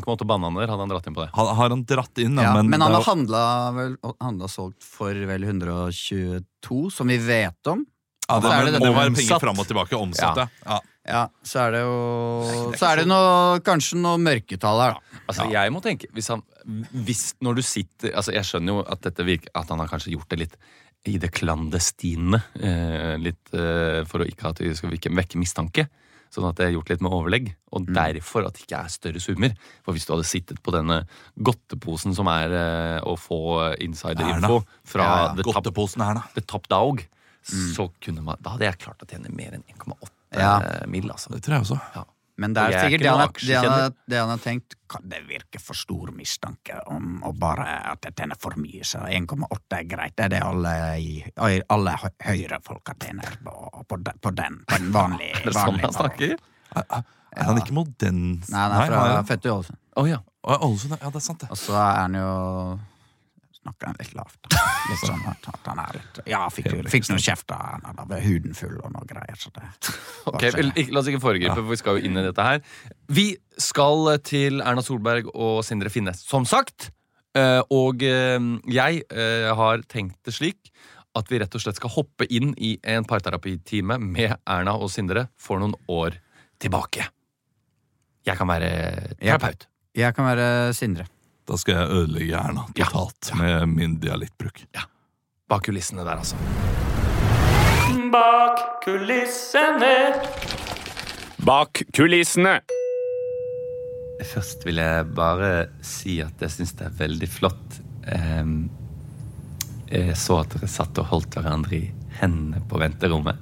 A: 1,8 bananer hadde han dratt inn på det.
B: Har, har han dratt inn,
C: Ja, men, han
B: det
C: har
B: er-
C: handla, vel, handla solgt for vel 122, som vi vet om.
B: ja,
C: så er
B: det,
C: det
B: må
C: denne
B: være
A: omsatt.
B: penger fram og tilbake. Omsatt,
A: Ja.
B: ja. ja.
C: Ja, så er det jo
B: Det er ikke
C: Så er det noe, kanskje noe mørketall her, da.
A: Altså, jeg må tenke hvis han, hvis, Når du sitter altså, Jeg skjønner jo at dette virker At han har kanskje gjort det litt i det klandestine. Eh, litt eh, for å ikke at vi skal vekke, vekke mistanke. Sånn at det er gjort litt med overlegg. Og derfor at det ikke er større summer. For hvis du hadde sittet på denne godteposen som er eh, å få insiderinfo
B: Erna.
A: fra
B: Ja, ja.
A: The, top,
B: Godteposen her, da.
A: the top Dog, så kunne man Da hadde jeg klart å tjene mer enn 1,8
C: Ja.
A: mill. Altså.
B: Det tror jeg også.
A: Ja.
C: Men det er
A: Jeg er ikke
C: sikkert det han,
A: noen
C: har, det, han har,
A: aksjekjenner.
C: det han har tenkt kan Det virker for stor mistanke om å bare at jeg tjener for mye, så 1,8 er greit. Det er det alle, i- alle hø- høyrefolka tjener på, på, den- på den. På en vanlig,
A: Er det sånn
C: vanlig
A: han snakker?
B: Er, er- er han ikke Modens
C: Nei, han er fra
B: han er-
C: født i Ålesund.
A: Å ja.
B: Å, Ålesund, ja, det er sant, det.
C: Og så er han jo Snakker han litt lavt. da. Litt sånn at, at han er litt Ja, fikk, jo- fikk noe kjeft av han, han hadde huden full og noe greier. Så det
A: Ok, vel, ikke, La oss ikke foregripe, for vi skal jo inn i dette her. Vi skal til Erna Solberg og Sindre Finnes, som sagt. Eh, Og eh, jeg eh, har tenkt det slik at vi rett og slett skal hoppe inn i en parterapitime med Erna og Sindre for noen år tilbake. Jeg kan være
C: Ja.
A: terapeut.
C: Jeg kan være Sindre.
B: Da skal jeg ødelegge Erna
A: Ja.
B: totalt med min dialektbruk.
A: Bak kulissene der, altså.
D: Bak kulissene.
E: Bak kulissene.
A: Først vil jeg bare si at jeg syns det er veldig flott. Ehm, Jeg så at dere satt og holdt hverandre i hendene på venterommet.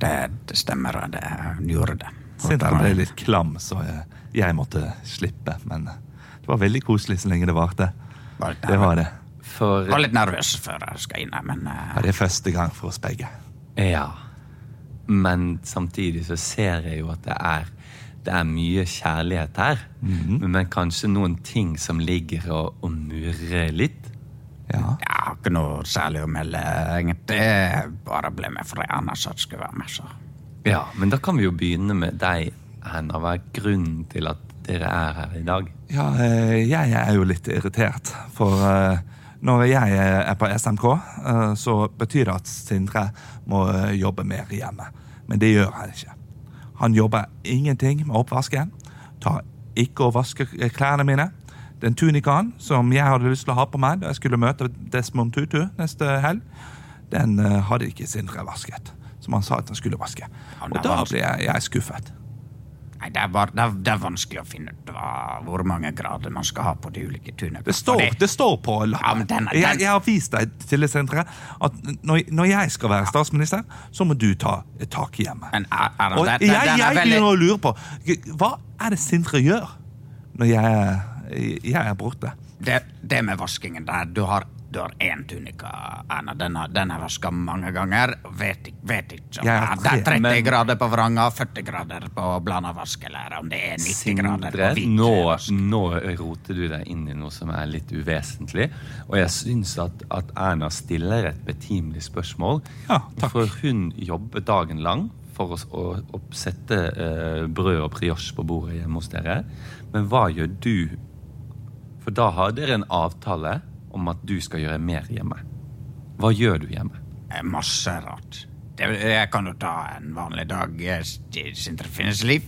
C: Det, det stemmer, og det han gjorde det.
B: Sindre ble litt klam, så jeg, jeg måtte slippe. Men eh, det var veldig koselig så lenge det varte.
C: Var litt,
B: Det var det.
A: For
C: var litt nervøs før jeg skal inn her, men eh,
B: Ja, det er første gang for oss begge.
A: Ja. Men samtidig så ser jeg jo at det er det er mye kjærlighet her. Men kanskje noen ting som ligger og, og murrer litt.
B: Ja.
C: jeg har ikke noe særlig å melde, egentlig. Jeg bare ble med fordi Erna sa jeg skulle være med, så
A: Ja, Men da kan vi jo begynne med deg, Erna. Hva er grunnen til at dere er her i dag?
B: Ja, eh, jeg er jo litt irritert, for eh, når jeg er på SMK, eh, så betyr det at Sindre må eh, jobbe mer hjemme. Men det gjør han ikke. Han jobber ingenting med oppvasken, tar ikke og vasker klærne mine. Den tunikaen som jeg hadde lyst til å ha på meg da jeg skulle møte Desmond Tutu neste helg, den eh, hadde ikke Sindre vasket, som han sa at han skulle vaske.
C: men
B: Og
C: det er
B: da
C: vanskelig.
B: ble jeg, jeg skuffet.
C: Nei, det er, bare, det, er, det er vanskelig å finne ut hva, hvor mange grader man skal ha på de ulike tunene.
B: Det står,
C: Fordi-
B: det står på
C: Ja,
B: lappen.
C: men den- den-
B: jeg, jeg har vist deg til det senteret at når, når jeg skal være statsminister, så må du ta et tak i hjemmet.
C: Men eh, er, er,
B: Og
C: den,
B: jeg,
C: den, den
B: jeg
C: er veldig
B: begynner å lure på hva er det Sindre gjør når jeg, jeg er borte.
C: det, det med vaskingen der, du har du har én tunika, Erna. Den har, den har vaska mange ganger. Vet, ikk- vet ikke om
B: Jeg
C: det
B: har
C: er- det er
B: tre,
C: 30
B: men-
C: grader på vranga, 40 grader på blanda vask, eller om det er 90 grader på hvit
A: nå,
C: vask.
A: nå roter du deg inn i noe som er litt uvesentlig. Og jeg syns at, at Erna stiller et betimelig spørsmål.
B: Ja, takk.
A: For hun jobber dagen lang for å, s- å, å sette eh, brød og brioche på bordet hjemme hos dere. Men hva gjør du? For da har dere en avtale om at du skal gjøre mer hjemme. Hva gjør du hjemme?
C: Eh, Masse rart. Det, jeg kan jo ta en vanlig dag eh, i Sindre Finnes liv.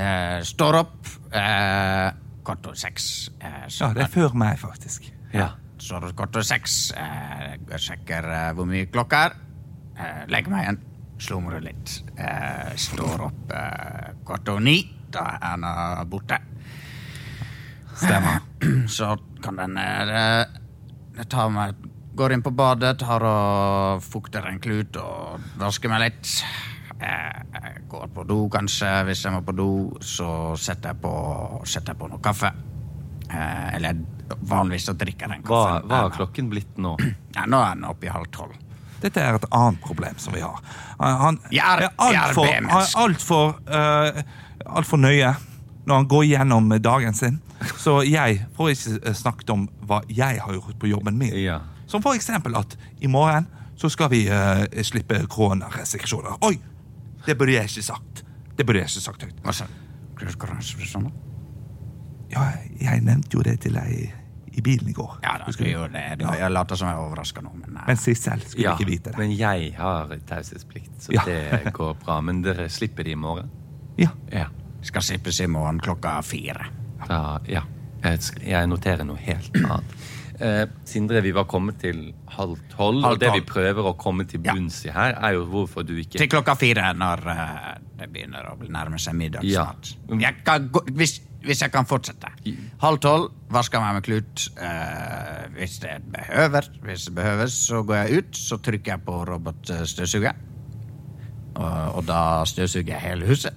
C: Eh, står opp eh, kvart over seks. Eh, så
B: Ja, det er før meg, faktisk.
A: Ja.
C: Står opp kvart over seks, eh, jeg sjekker eh, hvor mye klokka er, eh, legger meg igjen. slumrer litt. Eh, står opp eh, kvart over ni. Da er han eh, borte. Stemmer. Så kan den eh, eh, ta meg Går inn på badet, tar og fukter en klut og vasker meg litt. Eh, jeg går på do, kanskje. Hvis jeg må på do, så setter jeg på, setter jeg på noe kaffe. Eh, eller vanligvis så drikker jeg den
A: Hva,
C: kaffen.
A: hva er klokken blitt nå?
C: Ja, nå er den oppe i halv tolv.
B: Dette er et annet problem som vi har. Han han
C: Jeg er-
B: er altfor
C: jeg er B-menneske.
B: alt for, eh, alt for nøye når han går gjennom dagen sin. Så jeg får ikke eh, snakket om hva jeg har gjort på jobben min.
A: Ja.
B: Som for eksempel at i morgen så skal vi eh, slippe koronarestriksjoner. Oi! Det burde jeg ikke sagt. Det burde jeg ikke sagt høyt.
C: Hva sa du? Krysskoronarestriksjoner?
B: Ja, jeg nevnte jo det til deg i, i bilen i går.
C: Ja da, du gjorde det. Du, jeg later som jeg er overraska nå, men eh,
B: Men Sissel skulle
A: Ja,
B: ikke vite det.
A: men jeg har taushetsplikt, så
B: Ja.
A: det går bra. Men dere slipper det i morgen?
B: Ja.
A: Ja.
C: skal sippes i morgen klokka fire.
A: Da, ja. Jeg, sk- jeg noterer noe helt annet. Eh, Sindre, vi var kommet til halv tolv.
C: Halv
A: og det vi
C: tolv.
A: prøver å komme til
C: Ja.
A: bunns i her, er jo hvorfor du ikke
C: Til klokka fire, når eh, det begynner å bli nærme seg middag
A: Ja.
C: snart. Jeg kan gå, hvis, hvis jeg kan fortsette. Halv tolv, vasker meg med klut. eh, hvis det behøver, hvis det behøves, så går jeg ut, så trykker jeg på robotstøvsugeren. Og, og da støvsuger jeg hele huset.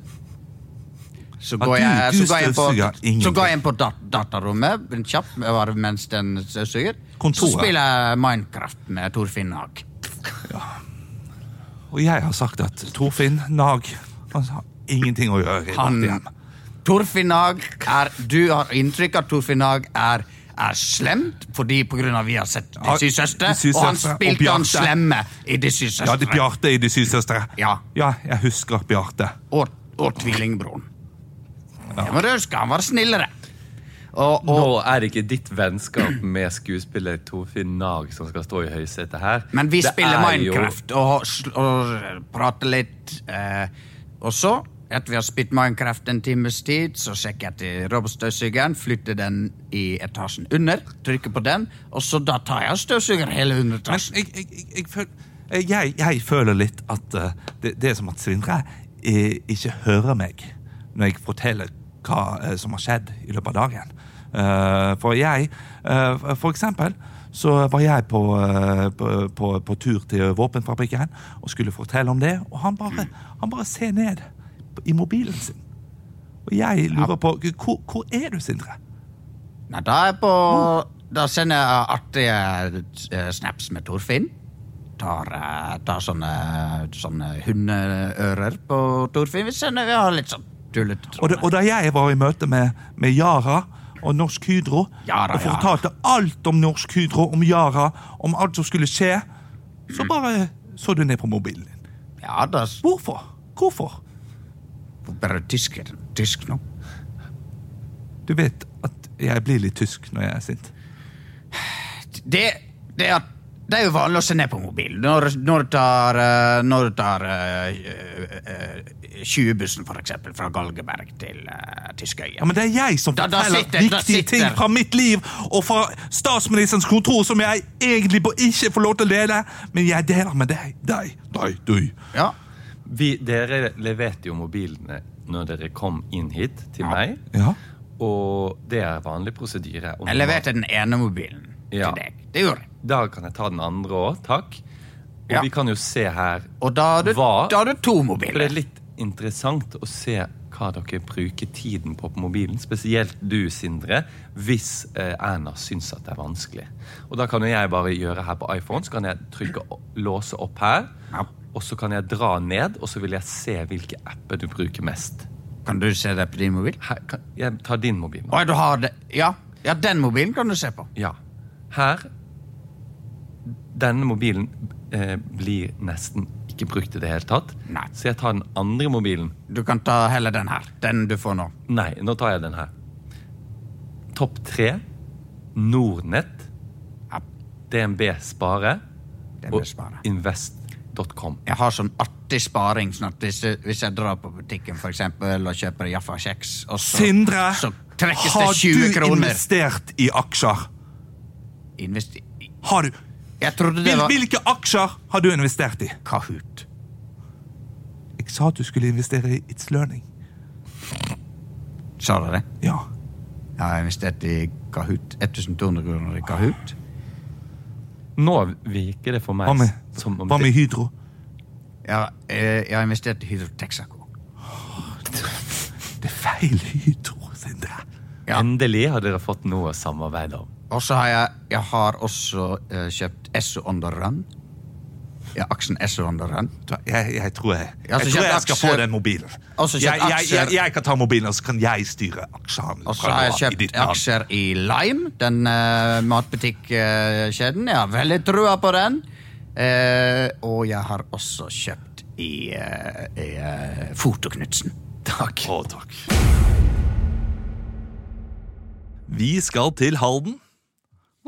C: Så
B: Ja,
C: går,
B: Ah, du-
C: jeg,
B: du
C: så, går jeg inn på,
B: støvsuger
C: så
B: ingenting.
C: går jeg inn på dat datarommet en kjapp var- mens den støvsuger. Så
B: Kontoret.
C: spiller jeg Minecraft med Torfinn Haag.
B: Og jeg har sagt at Torfinn Nag han har ingenting å gjøre i
C: Han-
B: vårt hjem.
C: Torfinn Haag er Du har inntrykk av at Torfinn Haag er er slemt fordi på grunn av vi har sett De
B: Ja,
C: syv søstre,
B: De syv
C: og han
B: søstre og
C: spilte han
B: Bjarte.
C: slemme i De syv
B: Ja, det er
C: søstre.
B: Bjarte i De syv søstre.
C: Ja.
B: jeg husker Bjarte.
C: og, og tvillingbroren. Ja. Men du husker, han var snillere. Og, og,
A: Nå er det ikke ditt vennskap med skuespiller Torfinn Nag som skal stå i høysetet her.
C: men vi
A: Det
C: spiller
A: er jo-
C: Minecraft og, sl- og prater litt. Eh, og så, etter vi har spilt Minecraft en times tid, så sjekker jeg til robotstøvsugeren, flytter den i etasjen under, trykker på den, og så da tar jeg og støvsuger hele
B: Men
C: underetasjen.
B: jeg, jeg, jeg, jeg, føl, eh, jeg, jeg føler litt at eh, det, det er som at Sindre eh, ikke hører meg når jeg forteller hva eh, som har skjedd i løpet av dagen. Eh, for jeg, eh, for eksempel, så var jeg på, eh, på, på, på tur til våpenfabrikken og skulle fortelle om det, og han bare, han bare ser ned i mobilen sin. Og jeg lurer på Hvor, hvor er du, Sindre?
C: Nei, da er jeg på Da sender jeg artige eh, snaps med Torfinn. Tar, eh, tar sånne, sånne hundeører på Torfinn. Vi sender vi har litt sånn tullete
B: Og, da- og da jeg var i møte med, med Yara og Norsk Hydro
C: Yara,
B: og fortalte alt om Norsk Hydro, om Yara, om alt som skulle skje,
C: Mm.
B: så bare så du ned på mobilen din.
C: Ja, da s-
B: Hvorfor? Hvorfor?
C: Bare tysk, tysk nå.
B: Du vet at jeg blir litt tysk når jeg er sint.
C: Det, det, er, det er jo vanlig å se ned på mobilen når, når du tar, eh, når du tar eh, eh, eh, 20-bussen, for eksempel, fra Galgeberg til uh, Tyskøya.
B: Ja, men det er jeg som
C: Da- da
B: forteller
C: sitter- da
B: viktige
C: sitter-
B: ting fra mitt liv og fra statsministerens kontor som jeg egentlig på- ikke får lov til å dele, men jeg deler med deg. Deg, deg, du.
C: Ja.
A: Vi, dere leverte jo mobilene når dere kom inn hit til meg.
B: Ja.
A: Og det er vanlig prosedyre. om-
C: Jeg leverte den ene mobilen
A: Ja.
C: til deg. Det gjorde jeg.
A: Da kan jeg ta den andre òg, takk. Og
C: Ja.
A: vi kan jo se her
C: Og da har du,
A: Hva?
C: da har du to
A: For det
C: mobiler.
A: er litt interessant å se hva dere bruker tiden på på mobilen. Spesielt du, Sindre, hvis eh, Erna syns at det er vanskelig. Og da kan jo jeg bare gjøre her på iPhone, så kan jeg trykke o- låse opp her.
C: Ja.
A: Og så kan jeg dra ned, og så vil jeg se hvilke apper du bruker mest.
C: Kan du se det på din mobil?
A: Her, kan, jeg tar din mobil nå.
C: Å, ja, du har det. Ja. ja, den mobilen kan du se på.
A: Ja. Her Denne mobilen eh, blir nesten ikke brukt i det hele tatt.
C: Nei.
A: Så jeg tar den andre mobilen.
C: Du kan ta heller den her. Den du får nå.
A: Nei, nå tar jeg den her. Topp tre. Nordnett.
C: Ja,
A: DNB Spare.
C: det
A: Og
C: blir sparet.
A: invest.com.
C: Jeg har sånn artig sparing. Sånn at hvis, hvis jeg drar på butikken for eksempel, og kjøper Jaffa-kjeks, og så,
B: Sindre,
C: så trekkes det
B: har
C: 20
B: du
C: kroner
B: investert i aksjer?
C: Investi...
B: Har du?
C: Jeg trodde det
B: Hvil,
C: var
B: hvilke aksjer har du investert i?
C: Kahoot.
B: sa at du skulle investere i It's Learning.
C: Sa dere det?
B: Ja.
C: Jeg har investert i Kahoot. 1200 kroner i Kahoot.
A: Nå virker det for meg
B: Hva med,
A: som om
B: hva med Hydro?
C: Jeg har, eh, jeg har investert i Hydro Texaco.
B: Det er feil Hydro, Sindre.
C: Ja.
A: Endelig har dere fått noe å samarbeide om.
C: Og så har jeg, jeg har også eh, kjøpt Esso on the run. Ja, aksjen Esso on the run.
B: Da- Jeg, jeg tror jeg, jeg,
C: Ja, så
B: tror
C: kjøp
B: jeg skal
C: aksjer.
B: få den mobilen.
C: Og så kjøp
B: Jeg, jeg, jeg,
C: aksjer.
B: jeg kan ta mobilen, og så kan jeg styre aksjehandelen.
C: Og så
B: fra
C: har jeg
B: nå av i ditt
C: kjøpt
B: navn.
C: aksjer i Lime, den uh, matbutikkjeden. Jeg har veldig trua på den. Eh, og jeg har også kjøpt i, eh, i eh, Fotoknutsen.
A: Takk.
B: Å, takk. Vi skal til Halden.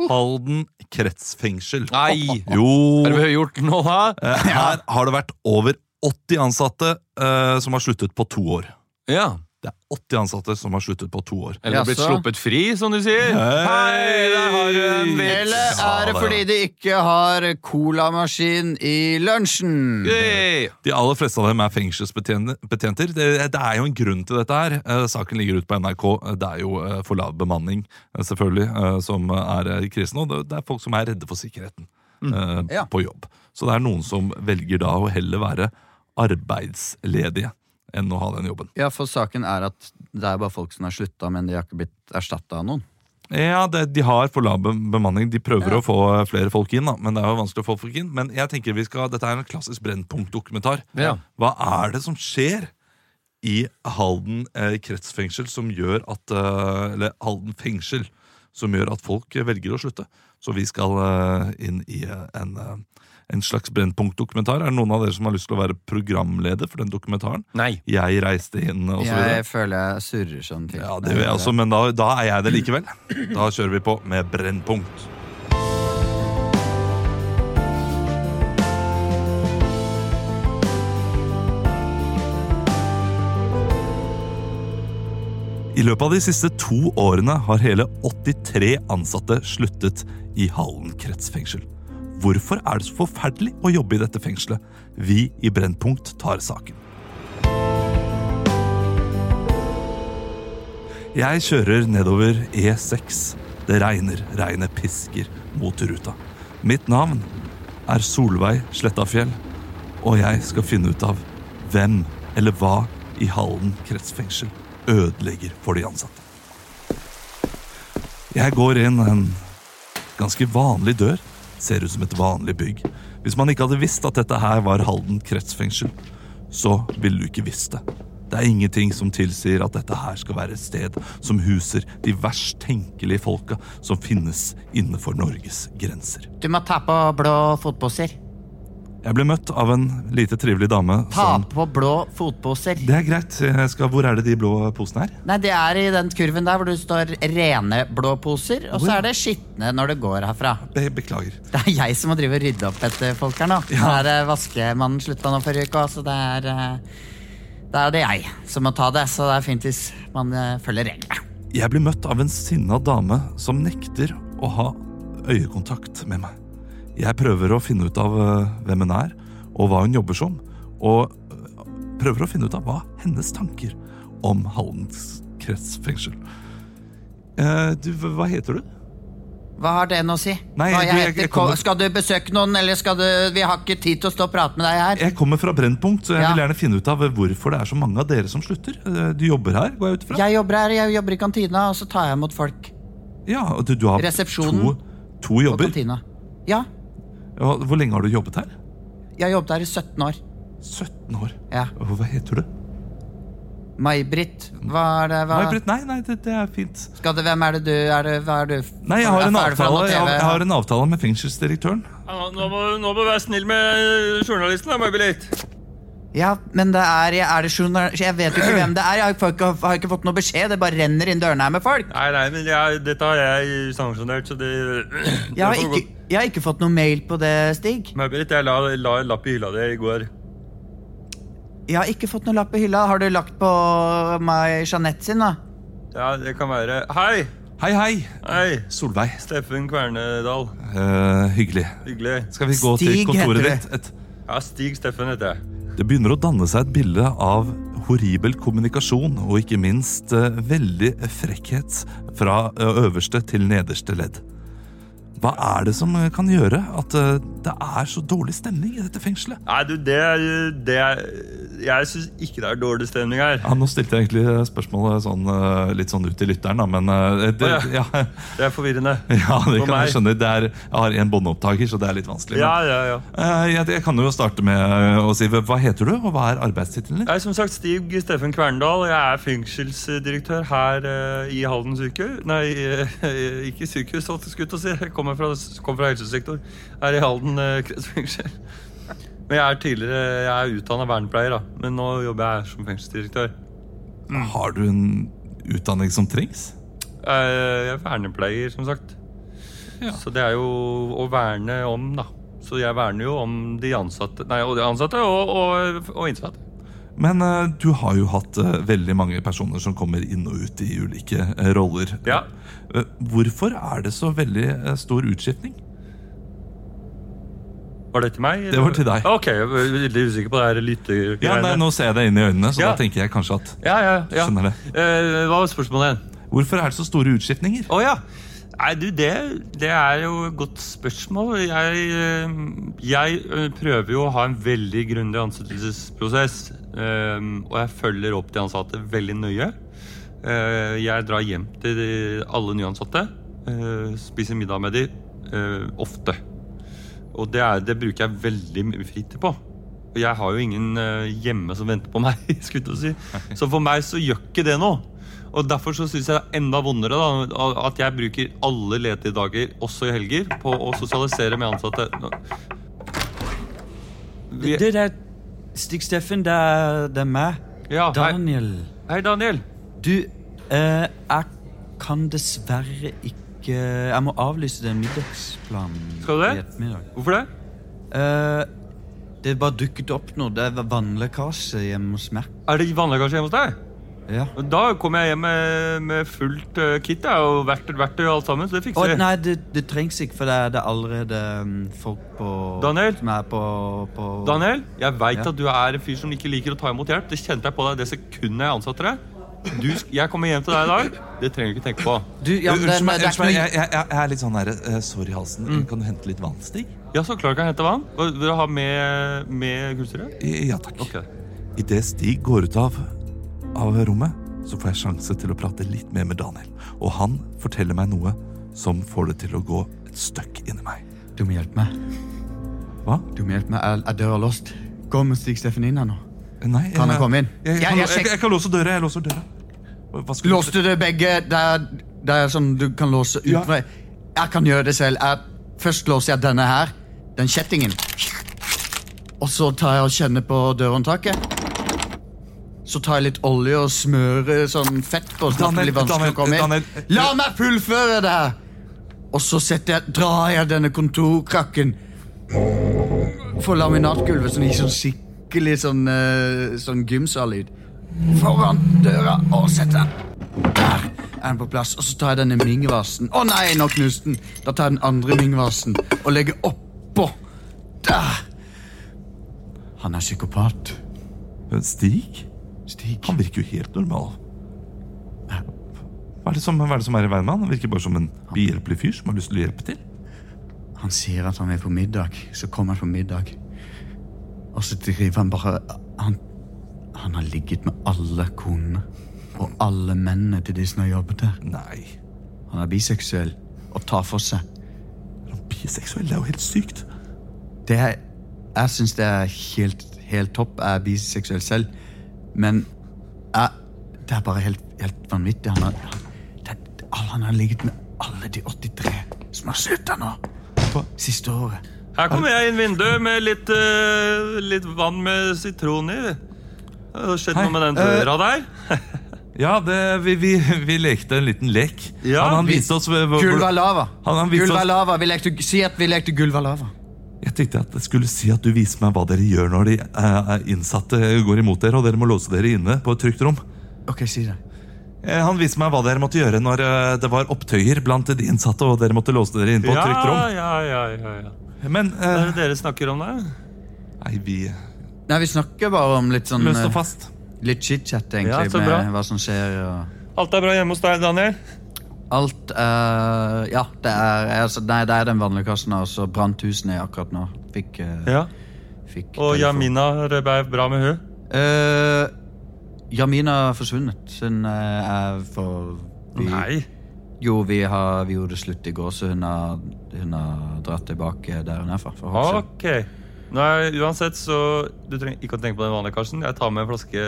B: Halden kretsfengsel.
A: Nei! Hva har
B: Jo,
A: vi gjort nå, (laughs) da?
B: her har det vært over 80 ansatte eh, som har sluttet på to år.
A: Ja.
B: Det er 80 ansatte som har sluttet på to år.
A: Eller blitt
C: Jaså?
A: sluppet fri, som du sier. Hei, der har du en vits!
C: Eller er det fordi de ikke har colamaskin i lunsjen?
A: Hey.
B: De aller fleste av dem er fengselsbetjenter. Det, det er jo en grunn til dette her. Eh, saken ligger ute på NRK. Det er jo eh, for lav bemanning, eh, selvfølgelig, eh, som er eh, i krisen. Og det, det er folk som er redde for sikkerheten
A: Mm.
B: eh,
C: Ja.
B: på jobb. Så det er noen som velger da å heller være arbeidsledige enn å ha den jobben.
C: Ja, for saken er at det er bare folk som har slutta, men de har ikke blitt erstatta av noen.
B: Ja, det, De har for lav be- bemanning. De prøver å få flere folk inn, da, men det er jo vanskelig å få folk inn. Men jeg tenker vi skal, dette er en klassisk Brennpunkt-dokumentar.
A: Ja.
B: Hva er det som skjer i Halden eh, kretsfengsel som gjør at eh, Eller Halden fengsel, som gjør at folk eh, velger å slutte? Så vi skal eh, inn i eh, en, eh, en slags Brennpunkt-dokumentar. Er det noen av dere som har lyst til å være programleder for den dokumentaren?
A: Nei.
B: Jeg reiste inn, og så videre.
C: Jeg føler jeg surrer sånn. til.
B: Ja, det gjør jeg også, men da, da er jeg det likevel. Da kjører vi på med Brennpunkt. I løpet av de siste to årene har hele 83 ansatte sluttet i Hallen kretsfengsel. Hvorfor er det så forferdelig å jobbe i dette fengselet? Vi i Brennpunkt tar saken. Jeg kjører nedover E6. Det regner, regnet pisker mot ruta. Mitt navn er Solveig Slettafjell, og jeg skal finne ut av hvem eller hva i Halden kretsfengsel ødelegger for de ansatte. Jeg går inn en ganske vanlig dør. Ser ut som et vanlig bygg. Hvis man ikke hadde visst at dette her var Halden kretsfengsel, så ville du ikke visst det. Det er ingenting som tilsier at dette her skal være et sted som huser de verst tenkelige folka som finnes innenfor Norges grenser.
F: Du må ta på blå fotposer.
B: Jeg ble møtt av en lite trivelig dame
F: Ta
B: som
F: på blå fotposer.
B: Sånn. Det er greit. Jeg skal, hvor er det de blå posene er?
F: Nei, det er i den kurven der hvor du står rene blå poser, og så er det skitne når du går herfra.
B: Be beklager.
F: Det er jeg som må drive og rydde opp etter folk her nå.
B: Ja.
F: Der eh, vaskemannen slutta nå forrige uke, så det er eh, Da er det jeg som må ta det, så det er fint hvis man eh, følger reglene.
B: Jeg blir møtt av en sinna dame som nekter å ha øyekontakt med meg. Jeg prøver å finne ut av eh, hvem hun er, og hva hun jobber som, og eh, prøver å finne ut av hva hennes tanker om Hallens kretsfengsel. Eh, du, hva hva heter du?
F: Hva har det nå å si?
B: Nei,
F: Hva jeg
B: du, jeg-
F: heter,
B: jeg kommer-
F: Ko- Skal du besøke noen, eller skal du Vi har ikke tid til å stå og prate med deg her.
B: Jeg kommer fra Brennpunkt, så jeg
F: Ja.
B: vil gjerne finne ut av eh, hvorfor det er så mange av dere som slutter. Eh, Du jobber her, går jeg ut fra?
F: Jeg jobber her, jeg jobber i kantina, og så tar jeg imot folk.
B: Ja, og du, du har to,
F: Resepsjonen
B: to
F: På
B: jobber.
F: kantina. Ja,
B: Ja, Hvor lenge har du jobbet her?
F: jeg har jobbet her i 17 år.
B: 17 år.
F: Ja.
B: Og Hva heter du?
F: May-Britt, hva er det hva?
B: May-Britt, nei, nei, det, det er fint.
F: Skal det, Hvem er det du er? Det, hva er du?
B: Nei, jeg har, en
F: Er du fra
B: avtale,
F: noe
B: jeg, har,
F: TV?
B: jeg har en avtale med fengselsdirektøren.
G: nå, må, nå må du være snill med eh, journalisten, da, May-Britt.
F: Ja, men det er, jeg, er det journal... Jeg vet jo ikke hvem det er. Jeg har ikke, fått- har ikke fått noe beskjed. Det bare renner inn dørene her med folk.
G: Nei, nei, men jeg, dette har jeg sanksjonert, så det (clears throat)
F: Jeg har ikke, jeg har ikke fått noe mail på det, Stig.
G: May-Britt, jeg la, la en lapp i hylla di i går.
F: Jeg har ikke fått noe lapp i hylla. Har du lagt på meg Jeanette sin, da?
G: Ja, det kan være Hei!
B: Hei, hei!
G: Hei!
B: Solveig.
G: Steffen Kvernedal.
B: Eh, hyggelig.
G: Hyggelig.
B: Skal vi gå
F: Stig
B: til kontoret
F: heter
B: ditt? Et,
G: Ja, Stig Steffen heter jeg.
B: Det begynner å danne seg et bilde av horribel kommunikasjon og ikke minst eh, veldig frekkhet fra eh, øverste til nederste ledd. Hva er det som eh, kan gjøre at eh, det er så dårlig stemning i dette fengselet?
G: Nei, du, det, det Jeg syns ikke det er dårlig stemning her.
B: Ja, nå stilte jeg egentlig spørsmålet sånn, eh, litt sånn ut til lytteren, da, men eh, det,
G: Å,
B: ja. Ja,
G: Det er forvirrende.
B: (laughs) det kan
G: For
B: jeg
G: meg.
B: skjønne. Det er, jeg har én båndopptaker, så det er litt vanskelig. men-
G: Ja, ja, ja.
B: Eh, Jeg, jeg kan jo starte med eh, å si hva heter du, og hva er arbeidstittelen din?
G: Jeg er som sagt Stig Steffen Kverndal. Jeg er fengselsdirektør her eh, i Halden sykehus. Nei, eh, (laughs) ikke sykehus, holdt jeg skulle til å si. Jeg kommer fra, kommer fra helsesektor. Her i Halden eh, kretsfengsel. Men jeg er tidligere Jeg er utdanna vernepleier, da. Men nå jobber jeg som fengselsdirektør.
B: Har du en utdanning som trengs?
G: Eh, Jeg er vernepleier, som sagt. Så det er jo å verne om, da. Så jeg verner jo om de ansatte Nei, og de ansatte og, og, og innsatte.
B: Men eh, du har jo hatt eh, veldig mange personer som kommer inn og ut i ulike eh, roller.
G: Ja.
B: Eh, Hvorfor er det så veldig eh, stor utskiftning?
G: Var det til meg?
B: Det var til deg.
G: Ok, jeg var veldig usikker på det her lyttegreiene.
B: Ja, nei, nå ser jeg deg inn i øynene, så
G: Ja.
B: da tenker jeg kanskje at
G: ja, ja, ja.
B: Skjønner det.
G: Eh, hva var spørsmålet igjen?
B: Hvorfor er det så store utskiftninger?
G: Å ja. Nei, du, det, det er jo et godt spørsmål. Jeg, eh, jeg eh, prøver jo å ha en veldig grundig ansettelsesprosess. eh, Og jeg følger opp de ansatte veldig nøye. Eh, Jeg drar hjem til de- alle nyansatte. eh, Spiser middag med de eh, ofte. Og det, er, det bruker jeg veldig mye fritid på. Og jeg har jo ingen eh, hjemme som venter på meg. (laughs) skulle jeg til å si. Så for meg så gjør ikke det noe. Og derfor så syns jeg det er enda vondere da, at jeg bruker alle ledige dager, også i helger, på å sosialisere med ansatte. Vi-
H: Det der Stig Steffen, det er, det er meg.
G: Ja, hei,
H: Daniel.
G: hei, Daniel.
H: Du, eh, jeg kan dessverre ikke Jeg må avlyse den middagsplanen.
G: Skal du det?
H: i ettermiddag.
G: Hvorfor det?
H: Eh, det bare dukket opp noe. Det var vannlekkasje hjemme hos meg.
G: Er det vannlekkasje hjemme hos deg?
H: Ja.
G: Og Da kommer jeg hjem med, med fullt eh, kit jeg, og verktøy verktøy og alt sammen. Så det
H: Å,
G: fikser vi.
H: nei, det, det trengs ikke, for det er, det er allerede mm, folk på
G: Daniel?
H: Som er på, på
G: Daniel, jeg veit
H: Ja.
G: at du er en fyr som ikke liker å ta imot hjelp. Det kjente jeg på deg det sekundet jeg ansatte deg. Du, sk- jeg kommer hjem til deg i dag. Det trenger du ikke tenke på.
H: Du, ja, men det,
B: Unnskyld meg,
H: det er
B: unnskyld
H: ikke noe
B: meg, jeg, jeg, jeg jeg er litt sånn her, eh, sår i halsen. Kan du hente litt vann, Stig?
G: Ja, så klart kan jeg hente vann. Og Vil du ha med, med kullsyre?
B: I- Eh, Ja takk.
G: Ok.
B: Idet Stig går ut av, av rommet, så får jeg sjanse til å prate litt mer med Daniel. Og han forteller meg noe som får det til å gå et støkk inni meg.
C: Du må hjelpe meg.
B: Hva?
C: Du må hjelpe meg. Jeg, jeg dør av låst. Kom med Stig Steffen inn her nå.
B: Eh, Nei,
C: Kan jeg komme inn?
B: Jeg, jeg,
C: Jeg-
B: kan-
C: jeg
B: jeg,
C: sjek-
B: jeg kan låse døra. jeg låser døra. Hva skulle du-
C: Låste du begge? Det er, det er sånn du kan låse ut
B: Ja.
C: fra Jeg kan gjøre det selv. Jeg, først låser jeg denne her. Den kjettingen. Og så tar jeg og kjenner på dørhåndtaket. Så tar jeg litt olje og smører sånn fett på. Sånn at det
B: Daniel,
C: blir vanskelig å komme
B: Daniel,
C: inn.
B: Daniel.
C: La meg fullføre det her! Og så setter jeg, drar jeg denne kontorkrakken for laminatgulvet, sånn, i sånn skikkelig sånn, eh, sånn gymsallyd. Foran døra og setter den der er den på plass. Og så tar jeg denne mingvasen. Å nei, nå knuste den! Da tar jeg den andre mingvasen og legger oppå. Der! Han er psykopat.
B: Eh, Stig?
C: Stig.
B: Han virker jo helt normal. Hva er det som, hva er, det som er i veien med han? Han virker bare som en behjelpelig fyr som har lyst til å hjelpe til.
C: Han sier at han vil på middag. Så kommer han på middag. Og så driver han bare Han, han har ligget med alle konene. Og alle mennene til de som har jobbet der.
B: Nei,
C: Han er biseksuell og tar for seg.
B: er han biseksuell? Det er jo helt sykt.
C: Det er, jeg syns det er helt, helt topp. Jeg er biseksuell selv. Men jeg, det er bare helt, helt vanvittig. Han har, det, det- han har ligget med alle de 83 som har slutta nå. Siste året.
G: Her kommer jeg inn vinduet med litt, eh, litt vann med sitron i. Det har skjedd noe med den
B: Eh,
G: døra der.
B: Ja, det, vi, vi, vi lekte en liten lek.
G: Ja,
B: han, han
G: vi-
B: viste oss hvor- hvor-
C: Gulv er lava.
B: Han- han viste
C: Gulv er
B: oss-
C: lava. Vi lekte, si at vi lekte gulv er lava.
B: Jeg tenkte at jeg skulle si at du viser meg hva dere gjør når de eh, innsatte går imot dere, og dere må låse dere inne på et trygt rom.
C: Ok, si det.
B: Eh, Han viser meg hva dere måtte gjøre når eh, det var opptøyer blant de innsatte, og dere måtte låse dere inne på et
G: Ja,
B: trygt rom.
G: ja, ja, ja, ja.
B: Men
G: Hva
B: eh,
G: er det dere snakker om der?
B: nei, vi
C: Nei, Vi snakker bare om litt sånn
B: Løst
C: eh,
B: og fast.
C: Litt chit-chat,
G: Ja,
C: egentlig,
G: så bra.
C: med hva som skjer. og
G: Alt er bra hjemme hos deg, Daniel?
C: Alt eh, Ja, det er, altså, nei, det er den vanlige kassen. Altså, Brant huset ned akkurat nå. Fikk, eh,
G: Ja.
C: fikk
G: Og
C: telefon.
G: Jamina, det er bra med hun?
C: Eh, Jamina har forsvunnet. Hun eh, er for
B: Mm.
C: vi,
G: Nei.
C: Jo, vi, har, vi gjorde det slutt i går, så hun har, hun har dratt tilbake der hun er fra. For å holde seg.
G: Ok. Nei, uansett, så Du trenger ikke å tenke på den vanlige Karsten. Jeg tar med en flaske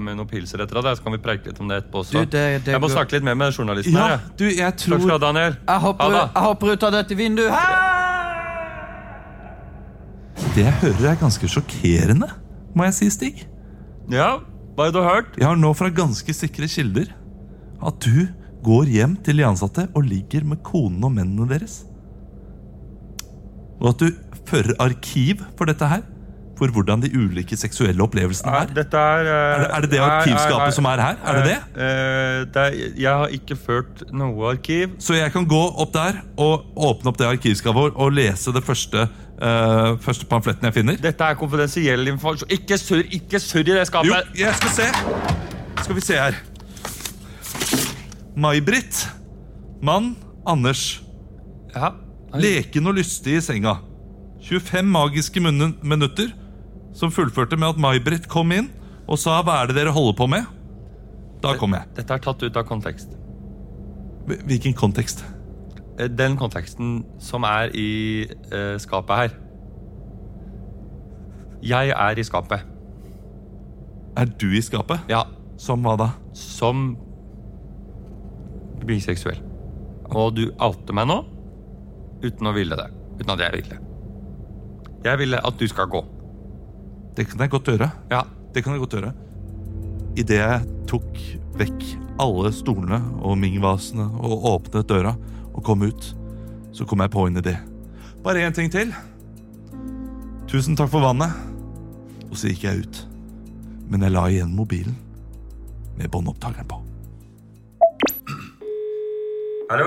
G: med noen pilser etter deg, så kan vi preike litt om det etterpå også.
C: Du, det- det
G: jeg må
C: går-
G: snakke litt mer med journalisten
B: Ja,
G: her. jeg.
B: du, jeg
G: Takk skal du
B: tror Ah.
G: ha, Daniel.
C: jeg, hopper,
G: Ha det.
C: jeg hopper ut av dette vinduet!
B: Det jeg hører, er ganske sjokkerende, må jeg si, Stig.
G: Ja, hva har du hørt?
B: Jeg har nå fra ganske sikre kilder at du går hjem til de ansatte og ligger med konen og mennene deres. Og at du fører arkiv for dette her. For hvordan de ulike seksuelle opplevelsene er.
G: Dette er eh,
B: Er det- er det det arkivskapet som er her? Er det det?
G: Eh, det er, jeg har ikke ført noe arkiv.
B: Så jeg kan gå opp der og åpne opp det arkivskapet vår og lese det første, eh, første pamfletten jeg finner.
G: Dette er konfidensiell informasjon. Ikke surr ikke surr i det skapet!
B: Jo, jeg skal se. Skal vi se her. May-Britt. Mann Anders.
G: Ja.
B: Leken og lystig i senga. 25 magiske munne- minutter som fullførte med at May-Britt kom inn og sa 'hva er det dere holder på med'? Da kom jeg.
G: Dette er tatt ut av kontekst.
B: Hvil- Hvilken kontekst?
G: Eh, Den konteksten som er i eh, skapet her. Jeg er i skapet.
B: Er du i skapet?
G: Ja,
B: Som hva da?
G: som biseksuell. Og du outer meg nå uten å ville det. Uten at jeg ville. Jeg ville at du skal gå.
B: Det kan jeg godt gjøre.
G: Ja.
B: Det kan jeg godt gjøre. Idet jeg tok vekk alle stolene og mingvasene og åpnet døra og kom ut, så kom jeg på en idé. Bare én ting til. Tusen takk for vannet. Og så gikk jeg ut. Men jeg la igjen mobilen med båndopptakeren på.
G: Hallo?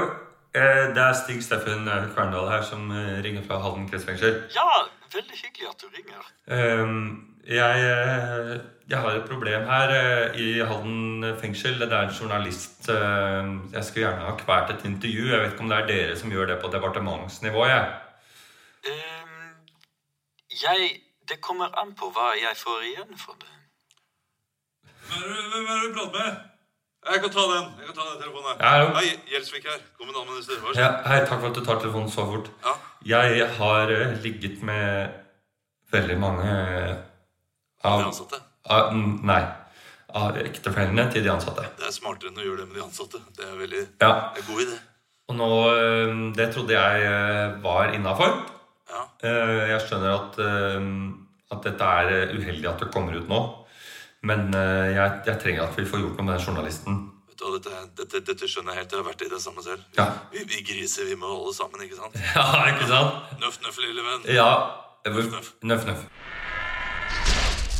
G: Eh, Det er Stig Steffen eh, Kverndal her som eh, ringer fra Halden kretsfengsel.
I: Ja, veldig hyggelig at du ringer.
G: Ehm, Jeg, eh, jeg har et problem her eh, i Halden fengsel. Det er en journalist eh, Jeg skulle gjerne ha kvært et intervju. Jeg vet ikke om det er dere som gjør det på departementsnivå. jeg.
I: Ehm, jeg Det kommer an på hva jeg får igjen for det.
J: Hvem er det du prater med? Jeg kan ta den jeg kan ta den telefonen her.
G: Ja, hallo.
J: Hei, Gjelsvik her. Kommunalminister. Vær så
G: Ja, hei, takk for at du tar telefonen så fort.
J: Ja.
G: Jeg har eh, ligget med veldig mange eh,
J: snill. De
G: av,
J: ansatte.
G: av n- Ah, mm, Nei. Ah, Av ektefellene til de ansatte.
J: Det er smartere enn å gjøre det med de ansatte. Det er veldig det
G: Ja.
J: er en god idé.
G: Og nå eh, Det trodde jeg eh, var innafor.
J: Ja.
G: Jeg skjønner at, eh, at dette er eh, uheldig at det kommer ut nå. Men eh, jeg, jeg trenger at vi får gjort noe med den journalisten.
J: Vet du hva, dette, dette, dette skjønner jeg helt. Jeg har vært i det samme selv.
G: Ja.
J: Vi, vi griser, vi må holde sammen, ikke sant?
G: Ja, ikke sant?
J: Nøff, nøff, lille venn.
G: Ja. Nøff, nøff.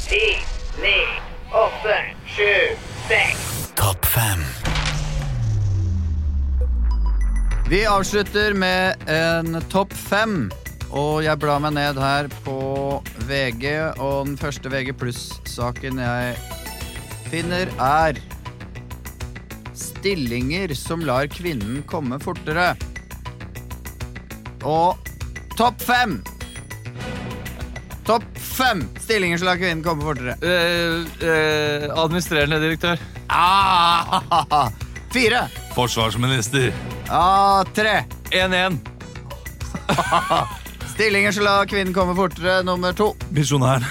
K: Ti, ni, åtte, sju, seks.
C: Topp fem. Vi avslutter med en topp fem. Og jeg blar meg ned her på VG, og den første VG pluss-saken jeg finner, er Stillinger som lar kvinnen komme fortere. Og topp fem! Topp fem stillinger som lar kvinnen komme fortere.
A: administrerende direktør.
C: Ah, fire!
B: Forsvarsminister.
C: Ah, tre!
A: 1-1.
C: (laughs) Stillinger som lar kvinnen komme fortere, nummer to.
B: Misjonær.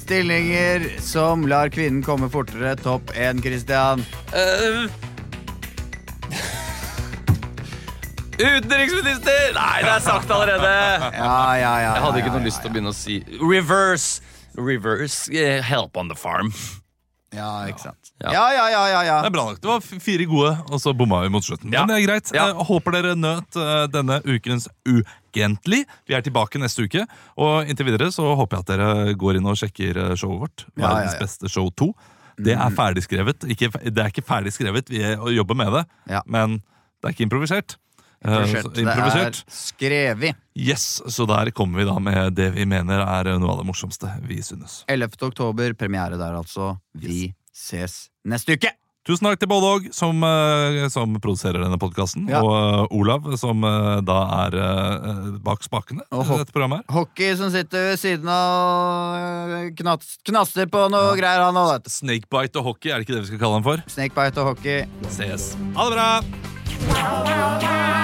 C: Stillinger som lar kvinnen komme fortere, topp én, Christian.
A: Utenriksminister! Nei, det er sagt allerede.
C: Ja, ja, ja.
A: Jeg hadde ikke noe lyst til å begynne å si reverse. Reverse eh, help on the farm.
C: Ja, ikke sant.
A: Ja.
C: Ja, ja, ja, ja.
B: Det
C: ja.
B: er bra nok. Det var f- fire gode, og så bomma vi mot slutten.
A: Ja.
B: Men det er greit.
A: Ja.
B: Eh, Håper dere nøt eh, denne ukens Ukentlig. Vi er tilbake neste uke, og inntil videre så håper jeg at dere går inn og sjekker eh, showet vårt.
C: Ja, Mm. ja, ja.
B: Verdens beste show 2. Det er ferdigskrevet. Ikke, fe- det er ikke ferdigskrevet, vi er- jobber med det,
C: Ja.
B: men det er ikke improvisert. Eh, så
C: Improvisert. Det
B: Improvisert.
C: er skrevet.
B: Yes, Så der kommer vi da med det vi mener er eh, noe av det morsomste vi synes.
C: 11. oktober, premiere der altså. Vi ses neste uke!
B: Tusen takk til Bålåg, som, eh, som produserer denne podkasten,
C: Ja.
B: og eh, Olav, som eh, da er eh, bak spakene i
C: ho-
B: dette programmet. her.
C: Hockey som sitter ved siden av øh, knas, Knaster på noe greier, han òg, vet du.
B: Snakebite og hockey, er det ikke det vi skal kalle ham for?
C: Snakebite og hockey.
B: Ses. Ha det bra!
K: Wow, wow, wow.